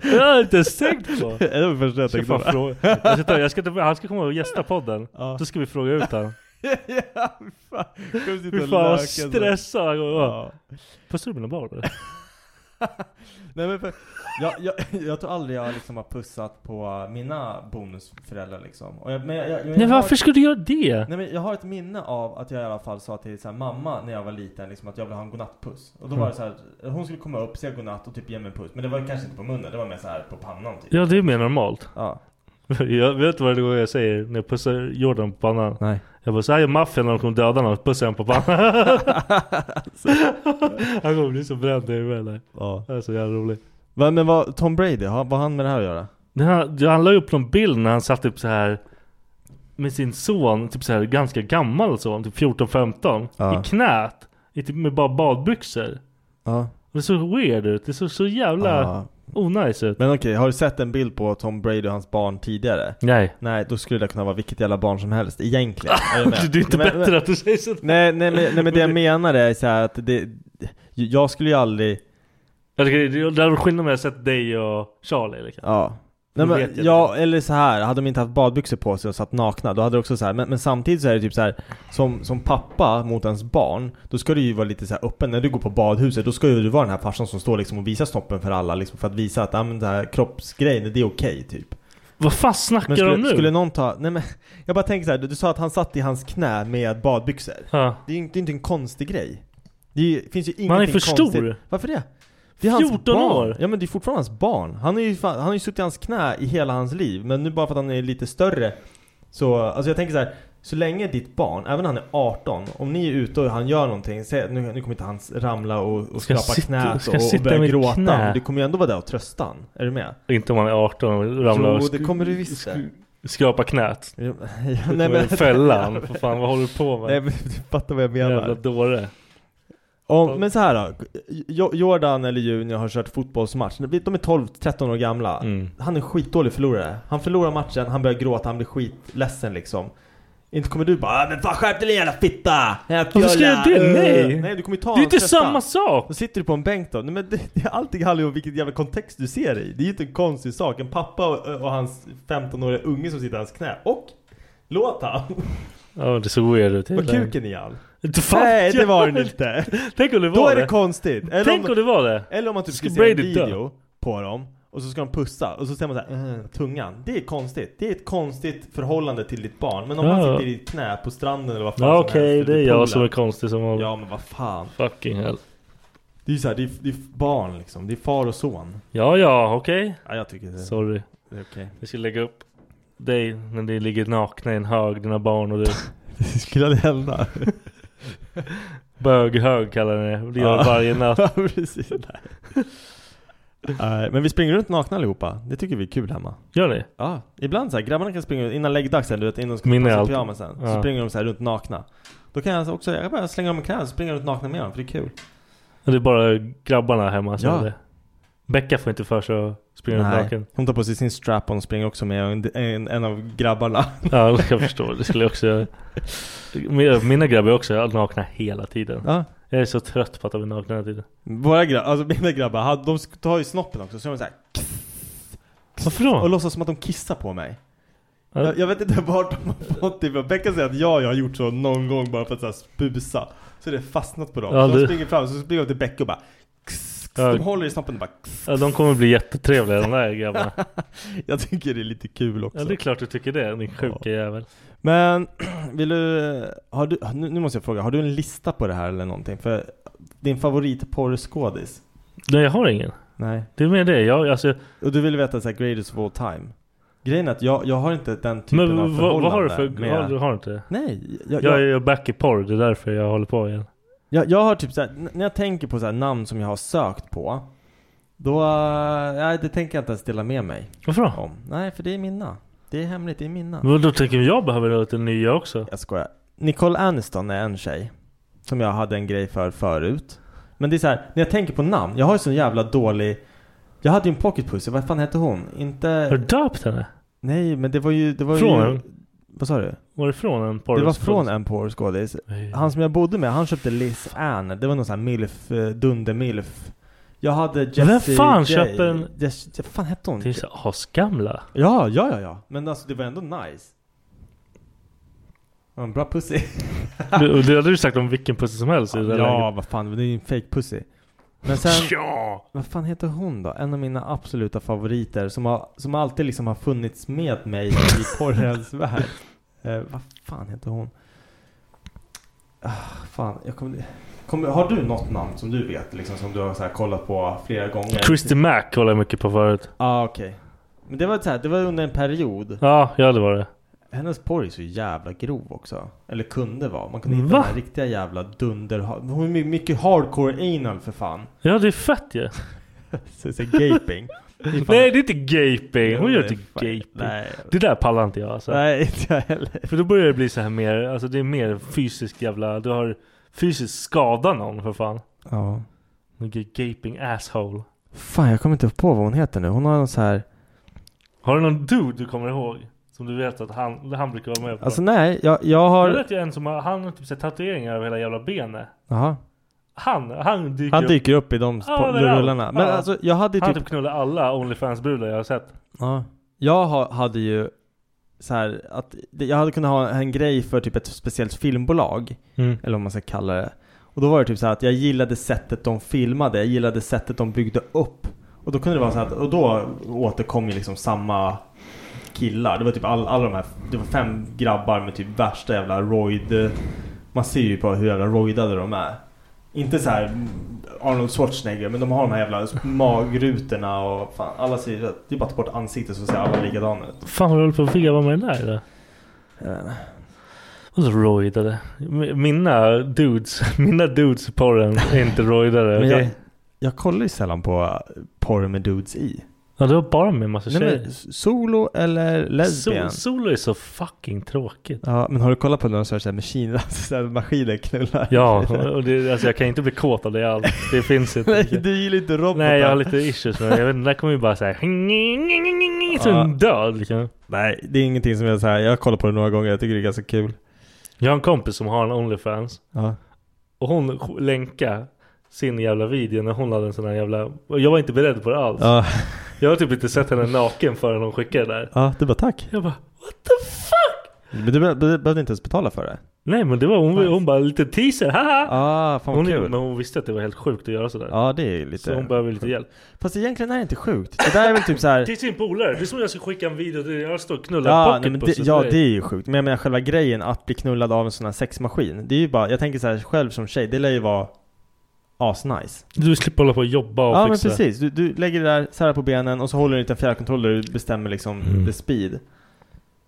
S7: Det har jag inte ens tänkt på.
S8: Det var det första jag
S7: Ska
S8: tänkte
S7: fan
S8: på.
S7: fråga- jag ska ta- jag ska ta- Han ska komma och gästa podden. Då ska vi fråga ut honom.
S8: ja, fy fan. Kommer sitta
S7: Fy
S8: och
S7: fan vad
S8: löka så.
S7: stressad han kommer vara. Pussar du mina barn eller?
S8: Nej, men för, jag, jag, jag tror aldrig jag liksom har pussat på mina bonusföräldrar liksom. Och jag, men jag, jag, men
S7: Nej,
S8: jag
S7: varför skulle du göra det?
S8: Nej men jag har ett minne av att jag i alla fall sa till så här, mamma när jag var liten liksom, att jag ville ha en godnattpuss. Och då
S7: Mm.
S8: var det så här, hon skulle komma upp, säga godnatt och typ ge mig en puss. Men det var kanske inte på munnen, det var mer så här på pannan typ.
S7: Ja det är mer normalt.
S8: Ja.
S7: Jag vet vad det är jag säger när jag pussar Jordan på pannan.
S8: Nej.
S7: Jag bara såhär gör maffian när de kommer döda någon, pussar jag honom på pannan. han kommer bli så bränd i huvudet där.
S8: Ja.
S7: Det är så jävla roligt.
S8: Va, men vad, Tom Brady, har, vad har han med det här att göra?
S7: Det här, det- han la upp någon bild när han satt typ så här med sin son, typ så här ganska gammal son, typ 14-15.
S8: Ja.
S7: I knät. I typ med bara badbyxor.
S8: Ja.
S7: Och det såg weird ut. Det såg så jävla
S8: Ja.
S7: onajs ut.
S8: Men okej, har du sett en bild på Tom Brady och hans barn tidigare?
S7: Nej.
S8: Nej, då skulle det kunna vara vilket jävla barn som helst egentligen. Är du med?
S7: Det är inte
S8: Men-
S7: bättre
S8: men-
S7: att du säger sådär.
S8: Nej, nej, men, nej men det jag menar är så här att det, jag skulle ju aldrig
S7: Jag tycker Det det hade varit skillnad om jag hade sett dig och Charlie liksom.
S8: Ja.
S7: Då
S8: Nej, men,
S7: vet jag
S8: ja, eller så här hade de inte haft badbyxor på sig och satt nakna, då hade det också så här. Men, men samtidigt så är det typ så här som, som pappa mot ens barn, då ska du ju vara lite så här öppen. När du går på badhuset, då ska ju du vara den här farsan som står liksom och visar snoppen för alla, liksom för att visa att, ja men den här kroppsgrejen, det är okej typ.
S7: Vad fan snackar
S8: Men skulle,
S7: de nu?
S8: Skulle någon ta, nej men, jag bara tänker så här, du, du sa att han satt i hans knä med badbyxor.
S7: Ja.
S8: Det är ju inte, det är inte en konstig grej. Det är, ju- finns ju ingenting
S7: Men han är för
S8: konstigt.
S7: stor.
S8: Varför det? Det är hans
S7: 14
S8: barn.
S7: år.
S8: Ja men det är fortfarande hans barn. Han, är ju fan, han har ju suttit i hans knä i hela hans liv. Men nu bara för att han är lite större. Så, alltså jag tänker så här. Så länge ditt barn, även när han är 18, om ni är ute och han gör någonting, säg, nu, nu kommer inte han ramla och, och
S7: Ska jag
S8: skrapa
S7: sitta-
S8: knät
S7: ska
S8: och,
S7: jag
S8: och
S7: sitta
S8: börja
S7: i mitt
S8: gråta.
S7: knä?
S8: Men du kommer ju ändå vara där och trösta han. Är du med?
S7: Inte om man är 18 och ramlar och
S8: Jo,
S7: sk-
S8: det kommer du visst det.
S7: skrapa knät.
S8: Ja,
S7: nej, men... Fällan. För fan vad håller du på med?
S8: Nej, men du fattar vad jag menar.
S7: Jävla dåre.
S8: Om, men så här då. Jo- Jordan eller Junior har kört fotbollsmatch. De är 12-13 år gamla.
S7: Mm.
S8: Han är skitdålig förlorare. Han förlorar matchen, han börjar gråta, han blir skitledsen liksom. Inte kommer du bara "Ah, men fan skärp dig din jävla fitta! Varför
S7: ska jag göra det? Nej.
S8: Nej du kommer ju ta
S7: Det är inte samma
S8: sak! Då sitter du på en bänk då. Nej, men det, det, allting handlar ju om vilken jävla kontext du ser det i. Det är ju inte en konstig sak. En pappa och, och hans 15-åriga unge som sitter i hans knä. Och låt han!
S7: Ja det såg weird ut.
S8: Var kuken i all?
S7: Inte fan
S8: Nej det
S7: jag.
S8: var den inte!
S7: Tänk om det
S8: Då
S7: var
S8: är det
S7: det.
S8: konstigt!
S7: Tänk om det var det.
S8: Eller om man typ ska
S7: Ska
S8: se en
S7: Brady dö?
S8: video på dem och så ska de pussa och så ser man såhär mm, tungan. Det är konstigt. Det är ett konstigt förhållande till ditt barn. Men om
S7: Ja.
S8: han sitter i ditt knä på stranden eller vad fan
S7: Ja
S8: som helst,
S7: okej
S8: eller
S7: det är
S8: vid poolen.
S7: jag som är konstig som vanligt.
S8: Ja men vad fan.
S7: Fucking hell.
S8: Det är ju såhär, det, är- det är barn liksom. Det är far och son.
S7: Ja ja okej.
S8: Ja jag tycker det.
S7: Sorry.
S8: Det är okej.
S7: Vi ska lägga upp dig när ni ligger nakna i en hög, dina barn och du.
S8: Det skulle aldrig hända.
S7: Böghög kallar ni det. Det gör
S8: Ja.
S7: varje natt.
S8: Ja, precis. Nej, men vi springer runt nakna allihopa. Det tycker vi är kul hemma.
S7: Gör ni?
S8: Ja, Ah. ibland så här, grabbarna kan springa ut innan läggdags eller du vet innan de ska
S7: Min är
S8: ta på sig
S7: alltid-
S8: pyjamasen. Så
S7: ja.
S8: springer de så här runt nakna. Då kan jag alltså också, jag kan bara slänga dem i knäna och springa runt nakna med dem för det är kul.
S7: Det är bara grabbarna hemma som
S8: Ja.
S7: gör det. Becka får inte för sig att springa runt
S8: Nej.
S7: naken.
S8: Hon tar på sig sin strap-on och springer också med en, en, en av grabbarna.
S7: Ja, jag kan förstå. Det skulle jag också göra. Mina- Mina grabbar är också nakna hela tiden.
S8: Ja.
S7: Jag är så trött på att de är nakna hela tiden.
S8: Våra grabbar, alltså mina grabbar, hade- de sk- tar ju snoppen också så gör de så här.
S7: Varför då?
S8: Och låtsas som att de kissar på mig.
S7: Ja.
S8: Jag, jag vet inte vart de har fått det ifrån. Becka säger att jag, jag har gjort så någon gång bara för att så här spusa. Så det är fastnat på dem.
S7: Ja,
S8: så de
S7: det-
S8: springer fram, så springer de till Becka och bara kss, kss. De
S7: Ja.
S8: håller i snoppen och bara kss.
S7: Ja, de kommer bli jättetrevliga de där grabbarna.
S8: Jag tycker det är lite kul också.
S7: Ja, det är klart du tycker det. Din sjuka jävel.
S8: Men vill du, har du, nu nu måste jag fråga, har du en lista på det här eller någonting? För din favoritporrskådis?
S7: Nej, jag har ingen.
S8: Nej.
S7: Det är mer det. Jag, alltså,
S8: Och du vill veta såhär greatest of all time? Grejen är att jag, jag har inte den typen
S7: men
S8: av
S7: vad,
S8: förhållande
S7: vad har du för...
S8: med-
S7: Har, du- har du inte?
S8: Nej.
S7: Jag,
S8: jag-
S7: jag,
S8: jag-
S7: är back i porr. Det är därför jag håller på igen.
S8: Jag, jag har typ såhär, n- när jag tänker på såhär namn som jag har sökt på Då, eh, nej det tänker jag inte ens dela med mig
S7: Varför då?
S8: om. Nej för det är mina Det är hemligt, det är mina
S7: Men då tänker jag jag behöver lite nya också.
S8: Jag skojar. Nicole Aniston är en tjej Som jag hade en grej för förut Men det är så här, när jag tänker på namn, jag har ju sån jävla dålig Jag hade ju en pocketpussel, vad fan hette hon?
S7: Har
S8: Inte...
S7: du döpt henne?
S8: Nej men det var ju, det var
S7: Från
S8: ju...
S7: en?
S8: Vad sa du?
S7: Var det från en porr?
S8: Det var från en porrskådis
S7: Nej.
S8: Han som jag bodde med, han köpte Liz Ann Det var någon sån här milf, eh, dunder-milf Jag hade Jessie
S7: Vem fan
S8: J.
S7: köper en...
S8: Jess, vad fan hette hon?
S7: Det är så asgamla.
S8: Ja, ja, ja, ja. Men alltså det var ändå nice. Ja, En bra pussy.
S7: Du- Det hade du sagt om vilken pussy som helst i det där
S8: ja,
S7: läget.
S8: vad fan. Det är ju en fake pussy. Men sen...
S7: Ja!
S8: Vad fan heter hon då? En av mina absoluta favoriter som, har, som alltid liksom har funnits med mig i porrens värld. Eh, vad fan heter hon? Ah, fan, jag kommer, kommer, har du något namn som du vet? Liksom, som du har så här kollat på flera gånger?
S7: Christy Mac kollar jag mycket på förut.
S8: Ja, okej. Men det var, så här, det var under en period.
S7: Ja, ja det var det.
S8: Hennes porr är så jävla grov också. Eller kunde vara. Man kunde hitta
S7: Va?
S8: den här riktiga jävla dunder... Hon är my- mycket hardcore anal för fan.
S7: Ja, det är fett ju.
S8: Så det är gaping.
S7: Nej, det är inte gaping. Hon gör inte gaping.
S8: Nej.
S7: Det där pallar inte jag alltså.
S8: Nej, inte jag heller.
S7: För då börjar det bli så här mer, alltså det är mer fysiskt jävla, du har fysiskt skada någon för fan.
S8: Ja.
S7: Mycket Gaping asshole.
S8: Fan, jag kommer inte på vad hon heter nu. Hon har någon så här...
S7: Har du någon dude du kommer ihåg? Som du vet att han, han brukar vara med på?
S8: Alltså nej, jag, jag
S7: Jag
S8: har...
S7: vet ju en som har, han har typ så här tatueringar över hela jävla benet.
S8: Jaha.
S7: Han, han dyker
S8: Han
S7: upp.
S8: dyker upp i de
S7: Ja,
S8: po-
S7: överallt.
S8: rullarna. Men
S7: Ja.
S8: alltså, jag hade ju
S7: Han
S8: typ-
S7: typ knullar alla Onlyfans-brudar jag har sett.
S8: Ja. Jag ha, hade ju så här att det- jag hade kunnat ha en grej för typ ett speciellt filmbolag.
S7: Mm.
S8: Eller vad man ska kalla det. Och då var det typ så här att jag gillade sättet de filmade. Jag gillade sättet de byggde upp. Och då kunde det vara så här att, och då återkom ju liksom samma killar. Det var typ all, alla de här, det var fem grabbar med typ värsta jävla roid. Man ser ju på hur jävla roidade de är. Inte så här Arnold Schwarzenegger men de har de här jävla magrutorna och fan alla ser ju- Det är bara att ta bort ansiktet så ser alla likadana ut.
S7: Fan vad du håller på att veva med den där eller?
S8: Jag vet inte.
S7: Vadå roidade? Mi- Mina dudes, mina dudes i porren är inte roidade.
S8: Men
S7: Okej?
S8: jag, jag kollar ju sällan på porr med dudes i.
S7: Ja du har bara med massa
S8: Nej,
S7: tjejer.
S8: men solo eller lesbian?
S7: Sol, solo är så fucking tråkigt.
S8: Ja, men har du kollat på när de kör såhär maskiner, alltså så här maskiner knullar?
S7: Ja, och det, alltså jag kan inte bli kåt av det alls. Det finns inte.
S8: Nej, du gillar inte robotar.
S7: Nej, jag har lite issues med det. Jag vet inte, där kommer ju bara såhär... Så
S8: Ja.
S7: en död liksom.
S8: Nej, det är ingenting som jag såhär, jag har kollat på det några gånger, jag tycker det är ganska kul.
S7: Jag har en kompis som har en Onlyfans.
S8: Ja.
S7: Och hon sk- länkar sin jävla video när hon hade en sån här jävla... och Jag var inte beredd på det alls.
S8: Ja.
S7: Jag har typ inte sett henne naken förrän hon skickade det där.
S8: Ja, du bara tack.
S7: Jag bara...
S8: Men du be- be- behövde inte ens betala för det.
S7: Nej men det var hon, hon bara lite teaser, haha!
S8: Ah, fan vad
S7: hon,
S8: kul.
S7: Men hon visste att det var helt sjukt att göra sådär.
S8: Ja, det är lite...
S7: Så hon behöver lite hjälp.
S8: Fast egentligen är det inte sjukt. Det där är väl typ såhär...
S7: Till sin polare, det är som jag ska skicka en video till jag står och knullar
S8: Ja, nej, men det,
S7: pocketpussen.
S8: ja, det är ju sjukt. Men jag menar själva grejen att bli knullad av en sån här sexmaskin. Det är ju bara, jag tänker så här själv som tjej, det lär ju vara asnice.
S7: Du slipper hålla på och jobba och
S8: Ja men
S7: fixa.
S8: precis, du, du lägger det där, särar på benen och så håller du en liten fjärrkontroll där du bestämmer liksom
S7: Mm.
S8: the speed.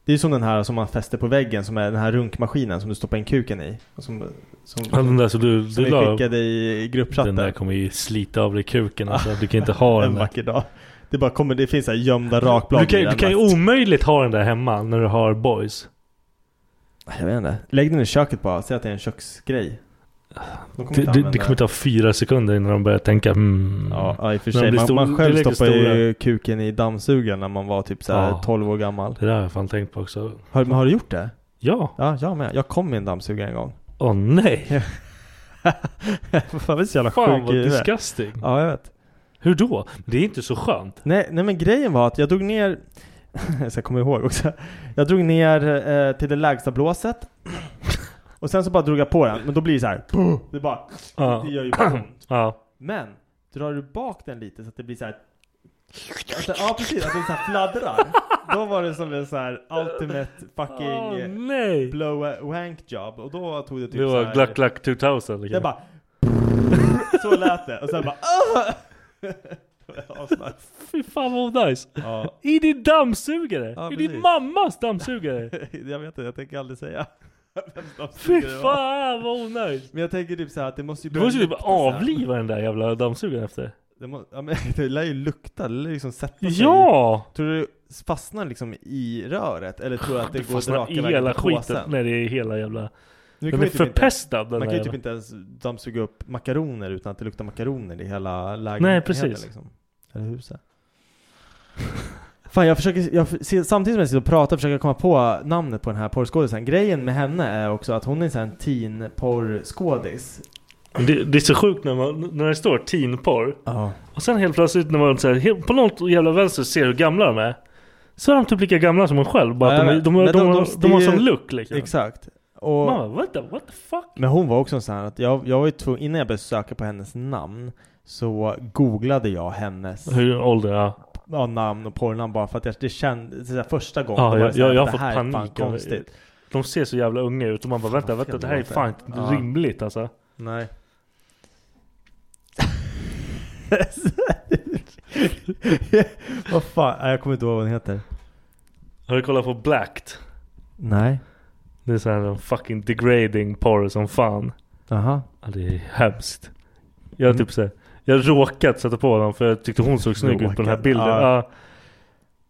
S8: Det är ju som den här som man fäster på väggen, som är den här runkmaskinen som du stoppar in kuken i. Och som, som,
S7: Ja, den där så du,
S8: som
S7: du
S8: vi
S7: la,
S8: skickade i gruppchatten.
S7: Den där kommer ju slita av dig kuken alltså. Du kan inte ha den
S8: en
S7: där.
S8: vacker dag. Det bara kommer, det finns så här gömda rakblad
S7: Du kan,
S8: i
S7: du
S8: den
S7: kan ju
S8: där.
S7: omöjligt ha den där hemma när du har boys.
S8: Jag vet inte. Lägg den i köket bara, säg att det är en köksgrej. De kommer
S7: Det,
S8: inte
S7: det, det
S8: använda
S7: kommer ta fyra sekunder innan de börjar tänka mm.
S8: Ja, ja i och för
S7: När de
S8: sig.
S7: blir
S8: Man,
S7: stor-
S8: man
S7: det
S8: själv
S7: lägger
S8: stoppade
S7: stora.
S8: ju kuken i dammsugaren när man var typ så här
S7: Ja.
S8: 12 år gammal.
S7: Det där har jag fan tänkt på också.
S8: Har, men har du gjort det?
S7: Ja.
S8: Ja, jag med. Jag kom i en dammsugare en gång.
S7: Åh nej!
S8: Fan vad så jävla
S7: Fan
S8: sjuk
S7: vad
S8: i huvudet.
S7: disgusting.
S8: Ja, jag vet.
S7: Hur då? Det är inte så skönt.
S8: Nej, nej men grejen var att jag drog ner, så jag kommer ihåg också. Jag drog ner eh, till det lägsta blåset. Och sen så bara drog jag på den, men då blir det så här. Puh, det bara,
S7: Ja.
S8: det gör ju bara ont.
S7: Ja.
S8: Men, drar du bak den lite så att det blir så här. Att det, ja precis, att det så här fladdrar. Då var det som en så här ultimate fucking
S7: Åh,
S8: oh, blow a wank job. Och då tog det typ
S7: Det
S8: så
S7: var
S8: här,
S7: Gluck Gluck 2000.
S8: Det
S7: Liksom.
S8: bara Så lät det. Och sen bara ah! Det var asnice.
S7: Fy fan vad nice.
S8: Ja,
S7: I din dammsugare!
S8: Ja,
S7: I din
S8: precis.
S7: mammas dammsugare!
S8: jag vet inte, jag tänker aldrig säga. vems
S7: Fy
S8: dammsugare det var.
S7: fan vad onödigt!
S8: Men jag tänker typ såhär att det måste ju
S7: Du
S8: börja
S7: måste ju typ
S8: lukta så här.
S7: avliva den där jävla dammsugaren efter.
S8: Det, må, ja, men, det lär ju lukta, det lär ju liksom sätta sig
S7: Ja!
S8: Tror du det fastnar liksom i röret? Eller tror du att det, går
S7: Fastnar
S8: raka
S7: i
S8: vägen
S7: hela
S8: till
S7: skiten.
S8: påsen?
S7: Nej det är hela jävla...
S8: Nu
S7: Den
S8: man
S7: är
S8: ju typ inte-
S7: förpestad den
S8: Man kan ju
S7: där jävla.
S8: typ inte ens dammsuga upp makaroner utan att det luktar makaroner i hela lägenheten.
S7: Nej, precis.
S8: Liksom. Eller huset. Fan jag försöker, jag, ser- samtidigt som jag sitter och pratar försöker jag komma på namnet på den här porrskådisen. Grejen med henne är också att hon är en sån här teen porrskådis.
S7: Det, det är så sjukt när, man, när det står teen porr. Och sen helt plötsligt när man så här, helt, på något jävla vänster ser hur gamla de är. Så är de typ lika gamla som en själv. Bara att
S8: Nej,
S7: de, de, de,
S8: men
S7: de, de, har- de har
S8: det är-
S7: sån look liksom.
S8: Exakt. Och,
S7: Man bara, what the, what the fuck?
S8: Men hon var också en sån här att jag, jag var ju tvungen, innan jag började söka på hennes namn så googlade jag hennes
S7: Hur ålder, ja.
S8: ja, namn och porrnamn bara för att jag, det kändes, så här, första gången
S7: Ja,
S8: var
S7: jag,
S8: så här,
S7: jag, jag har
S8: det
S7: fått
S8: här är fan
S7: panik. av-
S8: konstigt.
S7: De ser så jävla unga ut och man bara vänta, vänta det här är
S8: låter.
S7: fan inte
S8: Ja.
S7: rimligt alltså.
S8: Nej. Vad fan, nej, jag kommer inte ihåg vad hon heter.
S7: Har du kollat på Blacked?
S8: Nej.
S7: Det är så här en fucking degrading porr som fan.
S8: Jaha.
S7: Ja, det är hemskt. Jag
S8: Mm.
S7: har typ så här, jag har råkat sätta på den för jag tyckte hon såg snygg ut på den här
S8: Råkat,
S7: bilden.
S8: ja.
S7: Ja.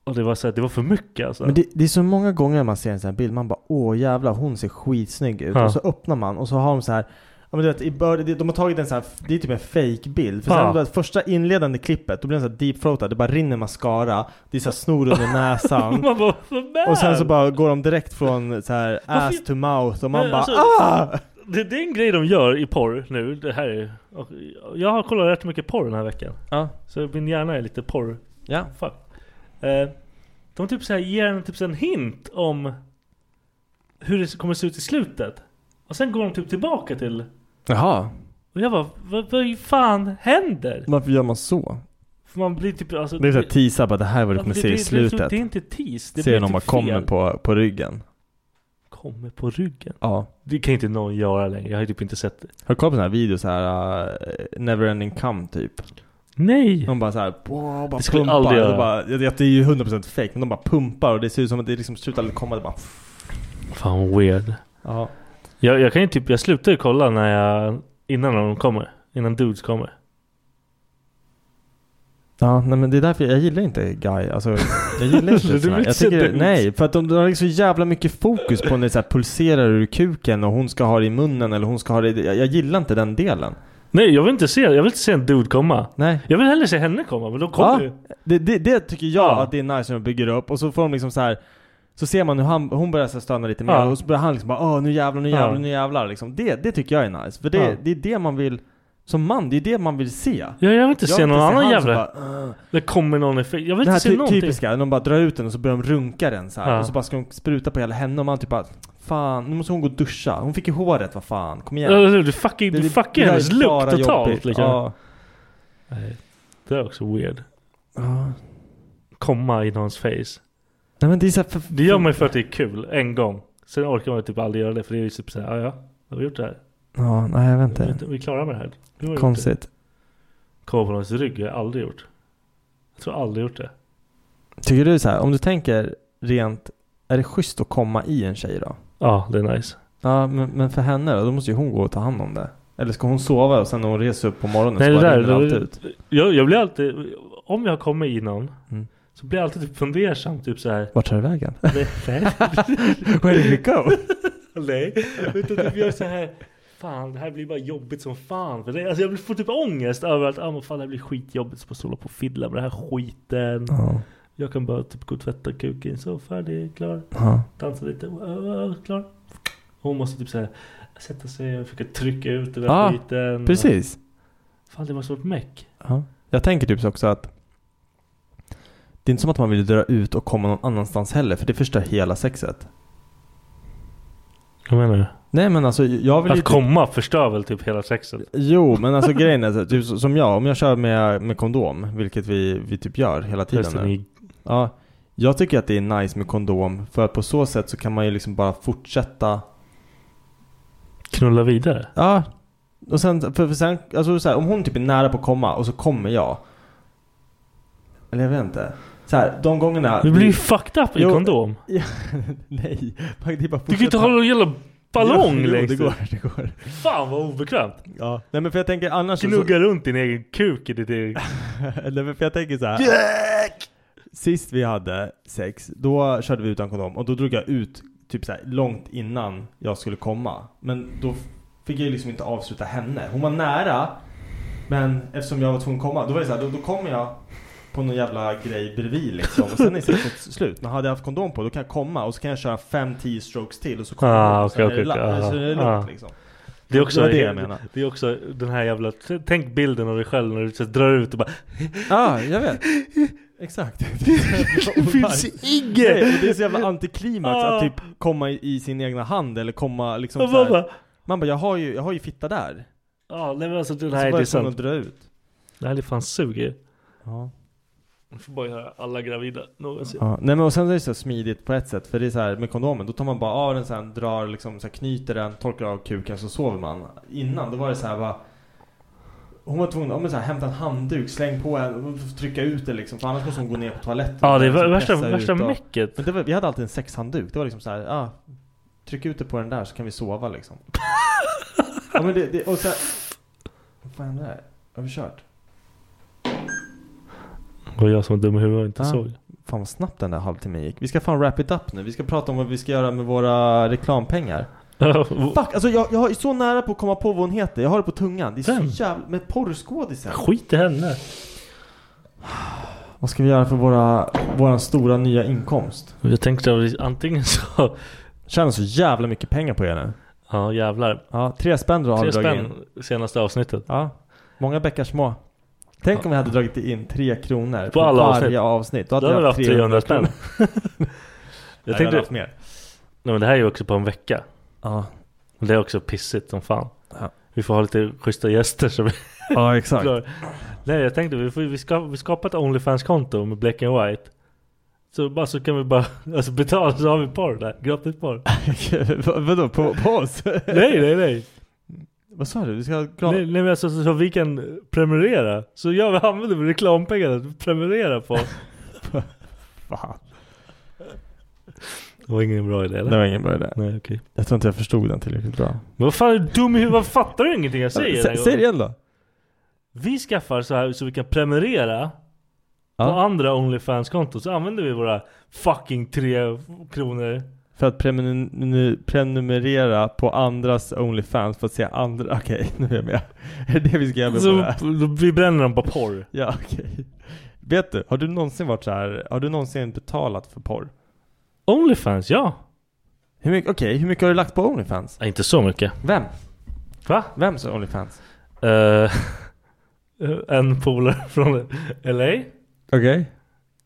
S7: Och det var så här, det var för mycket alltså.
S8: Men det, det är så många gånger man ser en sån här bild, man bara åh jävlar hon ser skitsnygg ut.
S7: Ja.
S8: Och så öppnar man och så har de så här Ja, men du vet, i början, de har tagit en sån här, det är typ en fake bild För sen
S7: Ja.
S8: du vet, första inledande klippet, då blir den så här deepthroatad, det bara rinner mascara Det är så här snor under näsan
S7: Man bara, "Vad
S8: Och sen så
S7: fan?"
S8: bara går de direkt från så här ass to mouth och man
S7: Men
S8: bara
S7: alltså,
S8: ah!
S7: det, det är en grej de gör i porr nu. Det här är, och jag har kollat rätt mycket porr den här veckan. Så min hjärna är lite porr.
S8: Ja.
S7: Fuck. Eh, de typ så här ger en typ så här en hint om hur det kommer se ut i slutet. Och sen går de typ tillbaka till...
S8: Jaha,
S7: Och jag bara, vad, vad fan händer?
S8: varför gör man så?
S7: För man blir typ... Alltså,
S8: Det är såhär teasa bara det här är vad du
S7: Ja,
S8: kommer
S7: det-
S8: se
S7: Alltså, det-
S8: i
S7: det-
S8: slutet
S7: det är inte tease, det
S8: Ser
S7: blir
S8: någon bara
S7: typ
S8: kommer
S7: fel.
S8: på, på ryggen
S7: Kommer på ryggen.
S8: Ja
S7: Det kan inte någon göra längre. Jag har ju typ inte sett det.
S8: Har du kollat på sådana här videos såhär, uh, Neverending Come typ?
S7: Nej!
S8: De bara såhär, wow, bara
S7: Det skulle jag
S8: pumpar.
S7: aldrig
S8: De
S7: göra.
S8: bara, jag vet, det är ju 100% fake, men de bara pumpar och det ser ut som att det liksom slutar aldrig komma, det bara
S7: Fan weird.
S8: Ja.
S7: Jag, jag kan ju typ, jag slutar ju kolla när jag, innan de kommer. Innan dudes kommer.
S8: Ja, nej men det är därför jag gillar inte Guy, alltså jag gillar
S7: Du
S8: inte såna här.
S7: vill
S8: jag
S7: se
S8: tycker,
S7: dudes.
S8: Nej, för att de, de har liksom så jävla mycket fokus på när det så här pulserar ur kuken och hon ska ha det i munnen eller hon ska ha det i, jag, jag gillar inte den delen
S7: Nej jag vill inte se, jag vill inte se en dude komma.
S8: Nej
S7: Jag vill hellre se henne komma, men de kommer ju.
S8: det, det, det tycker jag att det är nice när de bygger upp och så får de liksom så här. Så ser man hur han, hon börjar så här stöna lite mer
S7: Ja.
S8: och så börjar han liksom bara Åh nu jävlar, nu
S7: Ja.
S8: jävlar, nu jävlar liksom. det, det tycker jag är nice, för det,
S7: Ja.
S8: det är det man vill Som man, det är det man vill se
S7: Ja, jag vill inte se någon annan
S8: han som
S7: jävla...
S8: bara, "Ugh."
S7: det kommer någon effekt. Jag vill
S8: det här
S7: inte se
S8: ty-
S7: någonting.
S8: typiska, de bara drar ut den och så börjar de runka den så här.
S7: Ja.
S8: och så bara ska de spruta på hela henne och man typ bara Fan, nu måste hon gå och duscha, hon fick ju håret, vad fan, kom igen
S7: Ja, eller hur? Du fucking,
S8: Det-
S7: du
S8: det-
S7: fucking
S8: det där
S7: hennes
S8: är
S7: look
S8: bara
S7: totalt
S8: jobbigt.
S7: liksom.
S8: Ja.
S7: Nej, det är också weird.
S8: Ja.
S7: Komma i någons face.
S8: Nej men det är så här, för,
S7: Det gör man ju för att det är kul, en gång. Sen orkar man ju typ aldrig göra det för det är ju typ såhär, ja ja, nu har vi gjort det här.
S8: Ja, nej jag vet inte
S7: Vi, vi är klara med det här. Nu har vi gjort
S8: Konstigt
S7: det. Komma på någons rygg har jag aldrig gjort. Jag tror aldrig gjort det.
S8: Tycker du så här, om du tänker rent, är det schysst att komma i en tjej då?
S7: Ja, det är nice.
S8: Ja, men, men för henne då? Då måste ju hon gå och ta hand om det. Eller ska hon sova och sen när hon reser upp på morgonen
S7: Nej
S8: så
S7: det
S8: bara
S7: där,
S8: rinner allt
S7: det,
S8: ut?
S7: jag, jag blir alltid, om jag kommer i någon,
S8: Mm.
S7: så blir jag alltid typ fundersam typ såhär.
S8: Vart tar det vägen?
S7: Nej, nej.
S8: Where did it go?
S7: Nej, utan typ gör så här. Fan, det här blir bara jobbigt som fan. För det, alltså jag får typ ångest över att ah, men fan, det här blir skitjobbigt. Så måste jag hålla på och fiddla med den här skiten.
S8: Ja.
S7: Jag kan bara typ gå och tvätta kuken. Så färdig, klar.
S8: Ja.
S7: Dansa lite, äh, äh, klar. Hon måste typ så här sätta sig och försöka trycka ut den där
S8: Ja,
S7: skiten.
S8: Ah, Precis.
S7: Fan, det var svårt meck.
S8: Ja. Jag tänker typ så också att det är inte som att man vill dra ut och komma någon annanstans heller för det förstör hela sexet.
S7: Vad menar du?
S8: Nej men alltså jag vill
S7: Att
S8: ju typ-
S7: komma förstör väl typ hela sexet?
S8: Jo, men alltså grejen är så, typ så- som jag, om jag kör med, med kondom, vilket vi, vi typ gör hela tiden
S7: Förresten,
S8: nu.
S7: ni-
S8: Ja, jag tycker att det är nice med kondom, för att på så sätt så kan man ju liksom bara fortsätta.
S7: Knulla vidare?
S8: Ja, och sen, för, för sen alltså så här, om hon typ är nära på att komma och så kommer jag. Eller jag vet inte. Så här, de gångerna.
S7: Du blir ju fucked up i
S8: Jo.
S7: kondom.
S8: Ja, nej, man- det är bara
S7: Du kan ju inte ha någon jävla ballong
S8: Jo, jo,
S7: längst
S8: det
S7: ut.
S8: går, det går.
S7: Fan vad obekvämt.
S8: Ja, nej men för jag tänker annars. så-
S7: Gnugga runt din egen kuk i ditt eget...
S8: Nej men för jag tänker så här. Sist vi hade sex, då körde vi utan kondom och då drog jag ut typ så här, långt innan jag skulle komma. Men då fick jag ju liksom inte avsluta henne. Hon var nära, men eftersom jag var tvungen att komma, då var det så här, då, då kommer jag på någon jävla grej bredvid liksom. Och sen är sexet slut. Men hade jag haft kondom på, då kan jag komma och så kan jag köra 5-10 strokes till och så kommer
S7: Ah,
S8: jag och
S7: okej,
S8: sen är det
S7: okej,
S8: la-
S7: okej.
S8: så är det
S7: Ah,
S8: lugnt
S7: ah.
S8: liksom.
S7: Det är också
S8: Det var det jag menade.
S7: Det är också den här jävla, tänk bilden av dig själv när du så drar ut och bara
S8: Ja, jag vet. Exakt.
S7: Det finns inget!
S8: Nej, och Det är så jävla antiklimax
S7: Ah.
S8: att typ komma i- i sin egna hand eller komma liksom
S7: Och
S8: så
S7: man bara-
S8: här. Man bara, jag har ju, jag har ju fitta där.
S7: Ja, nej men alltså det
S8: Så
S7: här
S8: bara
S7: är
S8: jag tvungen
S7: sant.
S8: att dra ut.
S7: Det här är fan suger.
S8: Ja.
S7: Man får bara göra alla gravida någonsin.
S8: Ja, nej men och sen är det så smidigt på ett sätt för det är så här med kondomen, då tar man bara av den sen, drar liksom så här, knyter den, torkar av kuken så sover man. Innan då var det så här bara hon var tvungen att ja, men så här, hämta en handduk, släng på en och trycka ut det liksom för annars måste hon gå ner på toaletten.
S7: Ja, det är
S8: Liksom,
S7: värsta-
S8: pressa ut
S7: värsta
S8: och-
S7: mäcket.
S8: Men det var, vi hade alltid en sexhandduk. Det var liksom så här, ah, tryck ut det på den där så kan vi sova liksom. ja men det, det och sen Vad fan är det här? Har vi kört?
S7: Det var jag som var dum i huvudet och inte
S8: Ah.
S7: såg.
S8: Fan vad snabbt den där halvtimmen gick. Vi ska fan wrap it up nu. Vi ska prata om vad vi ska göra med våra reklampengar. Fuck, alltså jag, jag är så nära på att komma på vad hon heter. Jag har det på tungan. Det är så jävla... Med porrskådisar.
S7: Skit i henne.
S8: Vad ska vi göra för våra, våran stora nya inkomst?
S7: Jag tänkte att vi- antingen så...
S8: Tjänar så jävla mycket pengar på er nu.
S7: Ja jävlar.
S8: Ja, tre spänn har
S7: Tre
S8: vi dragit
S7: spänn senaste avsnittet.
S8: Ja. Många bäckar små. Tänk om vi hade dragit in tre kronor
S7: På alla
S8: varje
S7: avsnitt.
S8: avsnitt. Då hade,
S7: Då hade vi haft 300 spänn.
S8: kronor.
S7: Jag
S8: hade
S7: tänkte...
S8: haft mer.
S7: Nej men det här är ju också på en vecka.
S8: Ja.
S7: Och det är också pissigt som fan. Vi får ha lite schyssta gäster som
S8: Ja, exakt.
S7: Klar. Nej jag tänkte vi, får, vi, ska, vi skapar ett OnlyFans-konto med Black and White. Så, bara, så kan vi bara alltså betala så har vi porr där. Gratis porr.
S8: Vad- Vadå? På, på oss?
S7: nej nej nej.
S8: Vad sa du? Vi ska ha reklam?
S7: Nej, nej men alltså så, så vi kan prenumerera. Så jag vill använda vi reklampengarna till att prenumerera på oss.
S8: Fan.
S7: Det var ingen bra idé eller?
S8: Det var ingen bra idé.
S7: Nej okej.
S8: Jag tror inte jag förstod den tillräckligt bra.
S7: Men vad fan är du dum i huvudet? Fattar du ingenting jag säger?
S8: Sä-
S7: den här
S8: Säg det
S7: gången?
S8: igen då.
S7: Vi skaffar så här så vi kan prenumerera på
S8: Ja.
S7: andra OnlyFans-konton så använder vi våra fucking tre kronor.
S8: För att prenum- prenumerera på andras Onlyfans för att se andra... Okej, nu är jag med. Är det det vi ska göra med
S7: Så
S8: våra-
S7: vi bränner dem på porr.
S8: Ja, okej. Vet du, har du någonsin varit så här, har du någonsin betalat för porr?
S7: Onlyfans, ja.
S8: Hur mycket, okej, hur mycket har du lagt på Onlyfans?
S7: Nej, inte så mycket.
S8: Vem?
S7: Va?
S8: Vems Onlyfans?
S7: Eh, en polare från LA.
S8: Okej.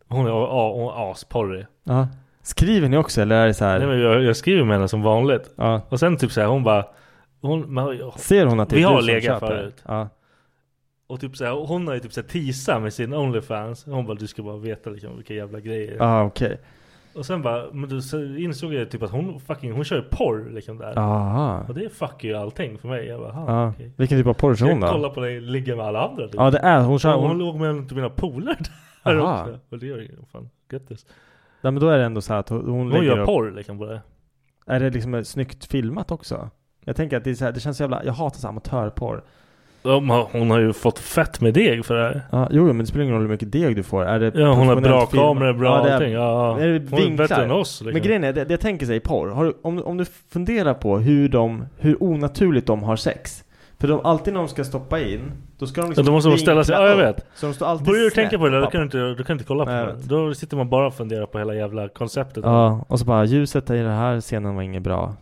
S7: Hon är a- hon är asporrig.
S8: Ja. Skriver ni också eller är det så här?
S7: Nej men jag, jag skriver med henne som vanligt.
S8: Ja.
S7: Och sen typ så här, hon bara... Hon, men, jag-
S8: Ser hon att det är
S7: Vi
S8: du
S7: har
S8: som
S7: legat
S8: köper?
S7: förut.
S8: Ja.
S7: Och typ så här, hon har ju typ så här teasat med sin Onlyfans. Hon bara du ska bara veta liksom vilka jävla grejer.
S8: Ja, okej.
S7: Och sen bara, men då så insåg jag typ att hon fucking, hon kör ju porr liksom där.
S8: Aha.
S7: Och det fuckar ju allting för mig. Jag bara, aha,
S8: Ja.
S7: okej.
S8: Vilken typ av porr kör hon
S7: Jag
S8: då?
S7: kollar på dig ligga med alla andra typ.
S8: Ja, det är- hon kör-
S7: Ja, Hon,
S8: hon-
S7: låg med en av mina polare där
S8: Aha.
S7: också. Och det gör ju, fan, grattis.
S8: Nej men då är det ändå så här att hon, hon
S7: Hon
S8: lägger
S7: gör
S8: upp...
S7: porr liksom på det.
S8: Är det liksom eh, snyggt filmat också? Jag tänker att det är så här, det känns så jävla, jag hatar så här amatörporr.
S7: De har- Hon har ju fått fett med deg för det här.
S8: Ja, jo, jo, men det spelar ingen roll hur mycket deg du får. Är det
S7: Ja, hon har
S8: professionellt
S7: bra
S8: filmat?
S7: kameror, bra
S8: det är-
S7: allting. Ja, ja.
S8: är det
S7: Hon är
S8: vinklar?
S7: bättre än oss, liksom.
S8: Men grejen är, det, det jag tänker sig i porr, har du, om, om du funderar på hur de, hur onaturligt de har sex. För de, alltid när de ska stoppa in, då ska de
S7: Ja,
S8: liksom
S7: då måste man ställa sig, ja
S8: vinkla
S7: jag
S8: upp.
S7: vet.
S8: Så de står alltid
S7: Börjar du
S8: snett
S7: tänka på det där, då
S8: upp.
S7: kan du inte, då kan du inte kolla på
S8: Nej, jag
S7: det. Då sitter man bara och funderar på hela jävla konceptet.
S8: Ja, och så bara ljuset i den här scenen var inget bra.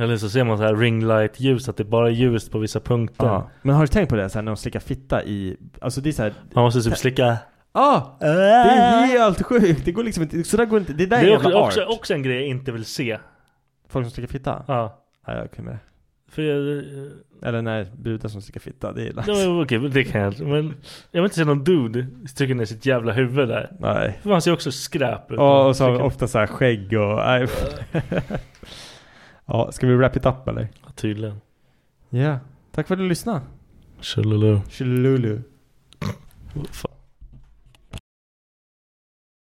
S7: Eller så ser man så här ringlight-ljus, att det bara är ljus på vissa punkter.
S8: Ja. Men har du tänkt på det så här, när de slickar fitta i, alltså det är så här,
S7: Man måste typ slicka...
S8: Ja! Det är helt sjukt! Det går liksom inte, sådär går inte, det där är
S7: det är
S8: jävla
S7: också, också,
S8: art.
S7: också en grej jag inte vill se.
S8: Folk som slickar fitta?
S7: Ja.
S8: Nej, jag är okej med det.
S7: För jag... eh,
S8: Eller nej, brudar som slickar fitta, det är nice.
S7: Ja, men okej, men det kan jag inte. Men jag vill inte se någon dude trycka ner sitt jävla huvud där.
S8: Nej.
S7: För man ser också skräp ut.
S8: Ja, och så har vi
S7: Tycker-
S8: ofta så här skägg och... Nej. ja, ska vi wrap it up eller?
S7: Ja, Tydligen.
S8: Ja. Tack för att du lyssnade.
S7: Tjololo.
S8: Tjololo.
S7: Fan.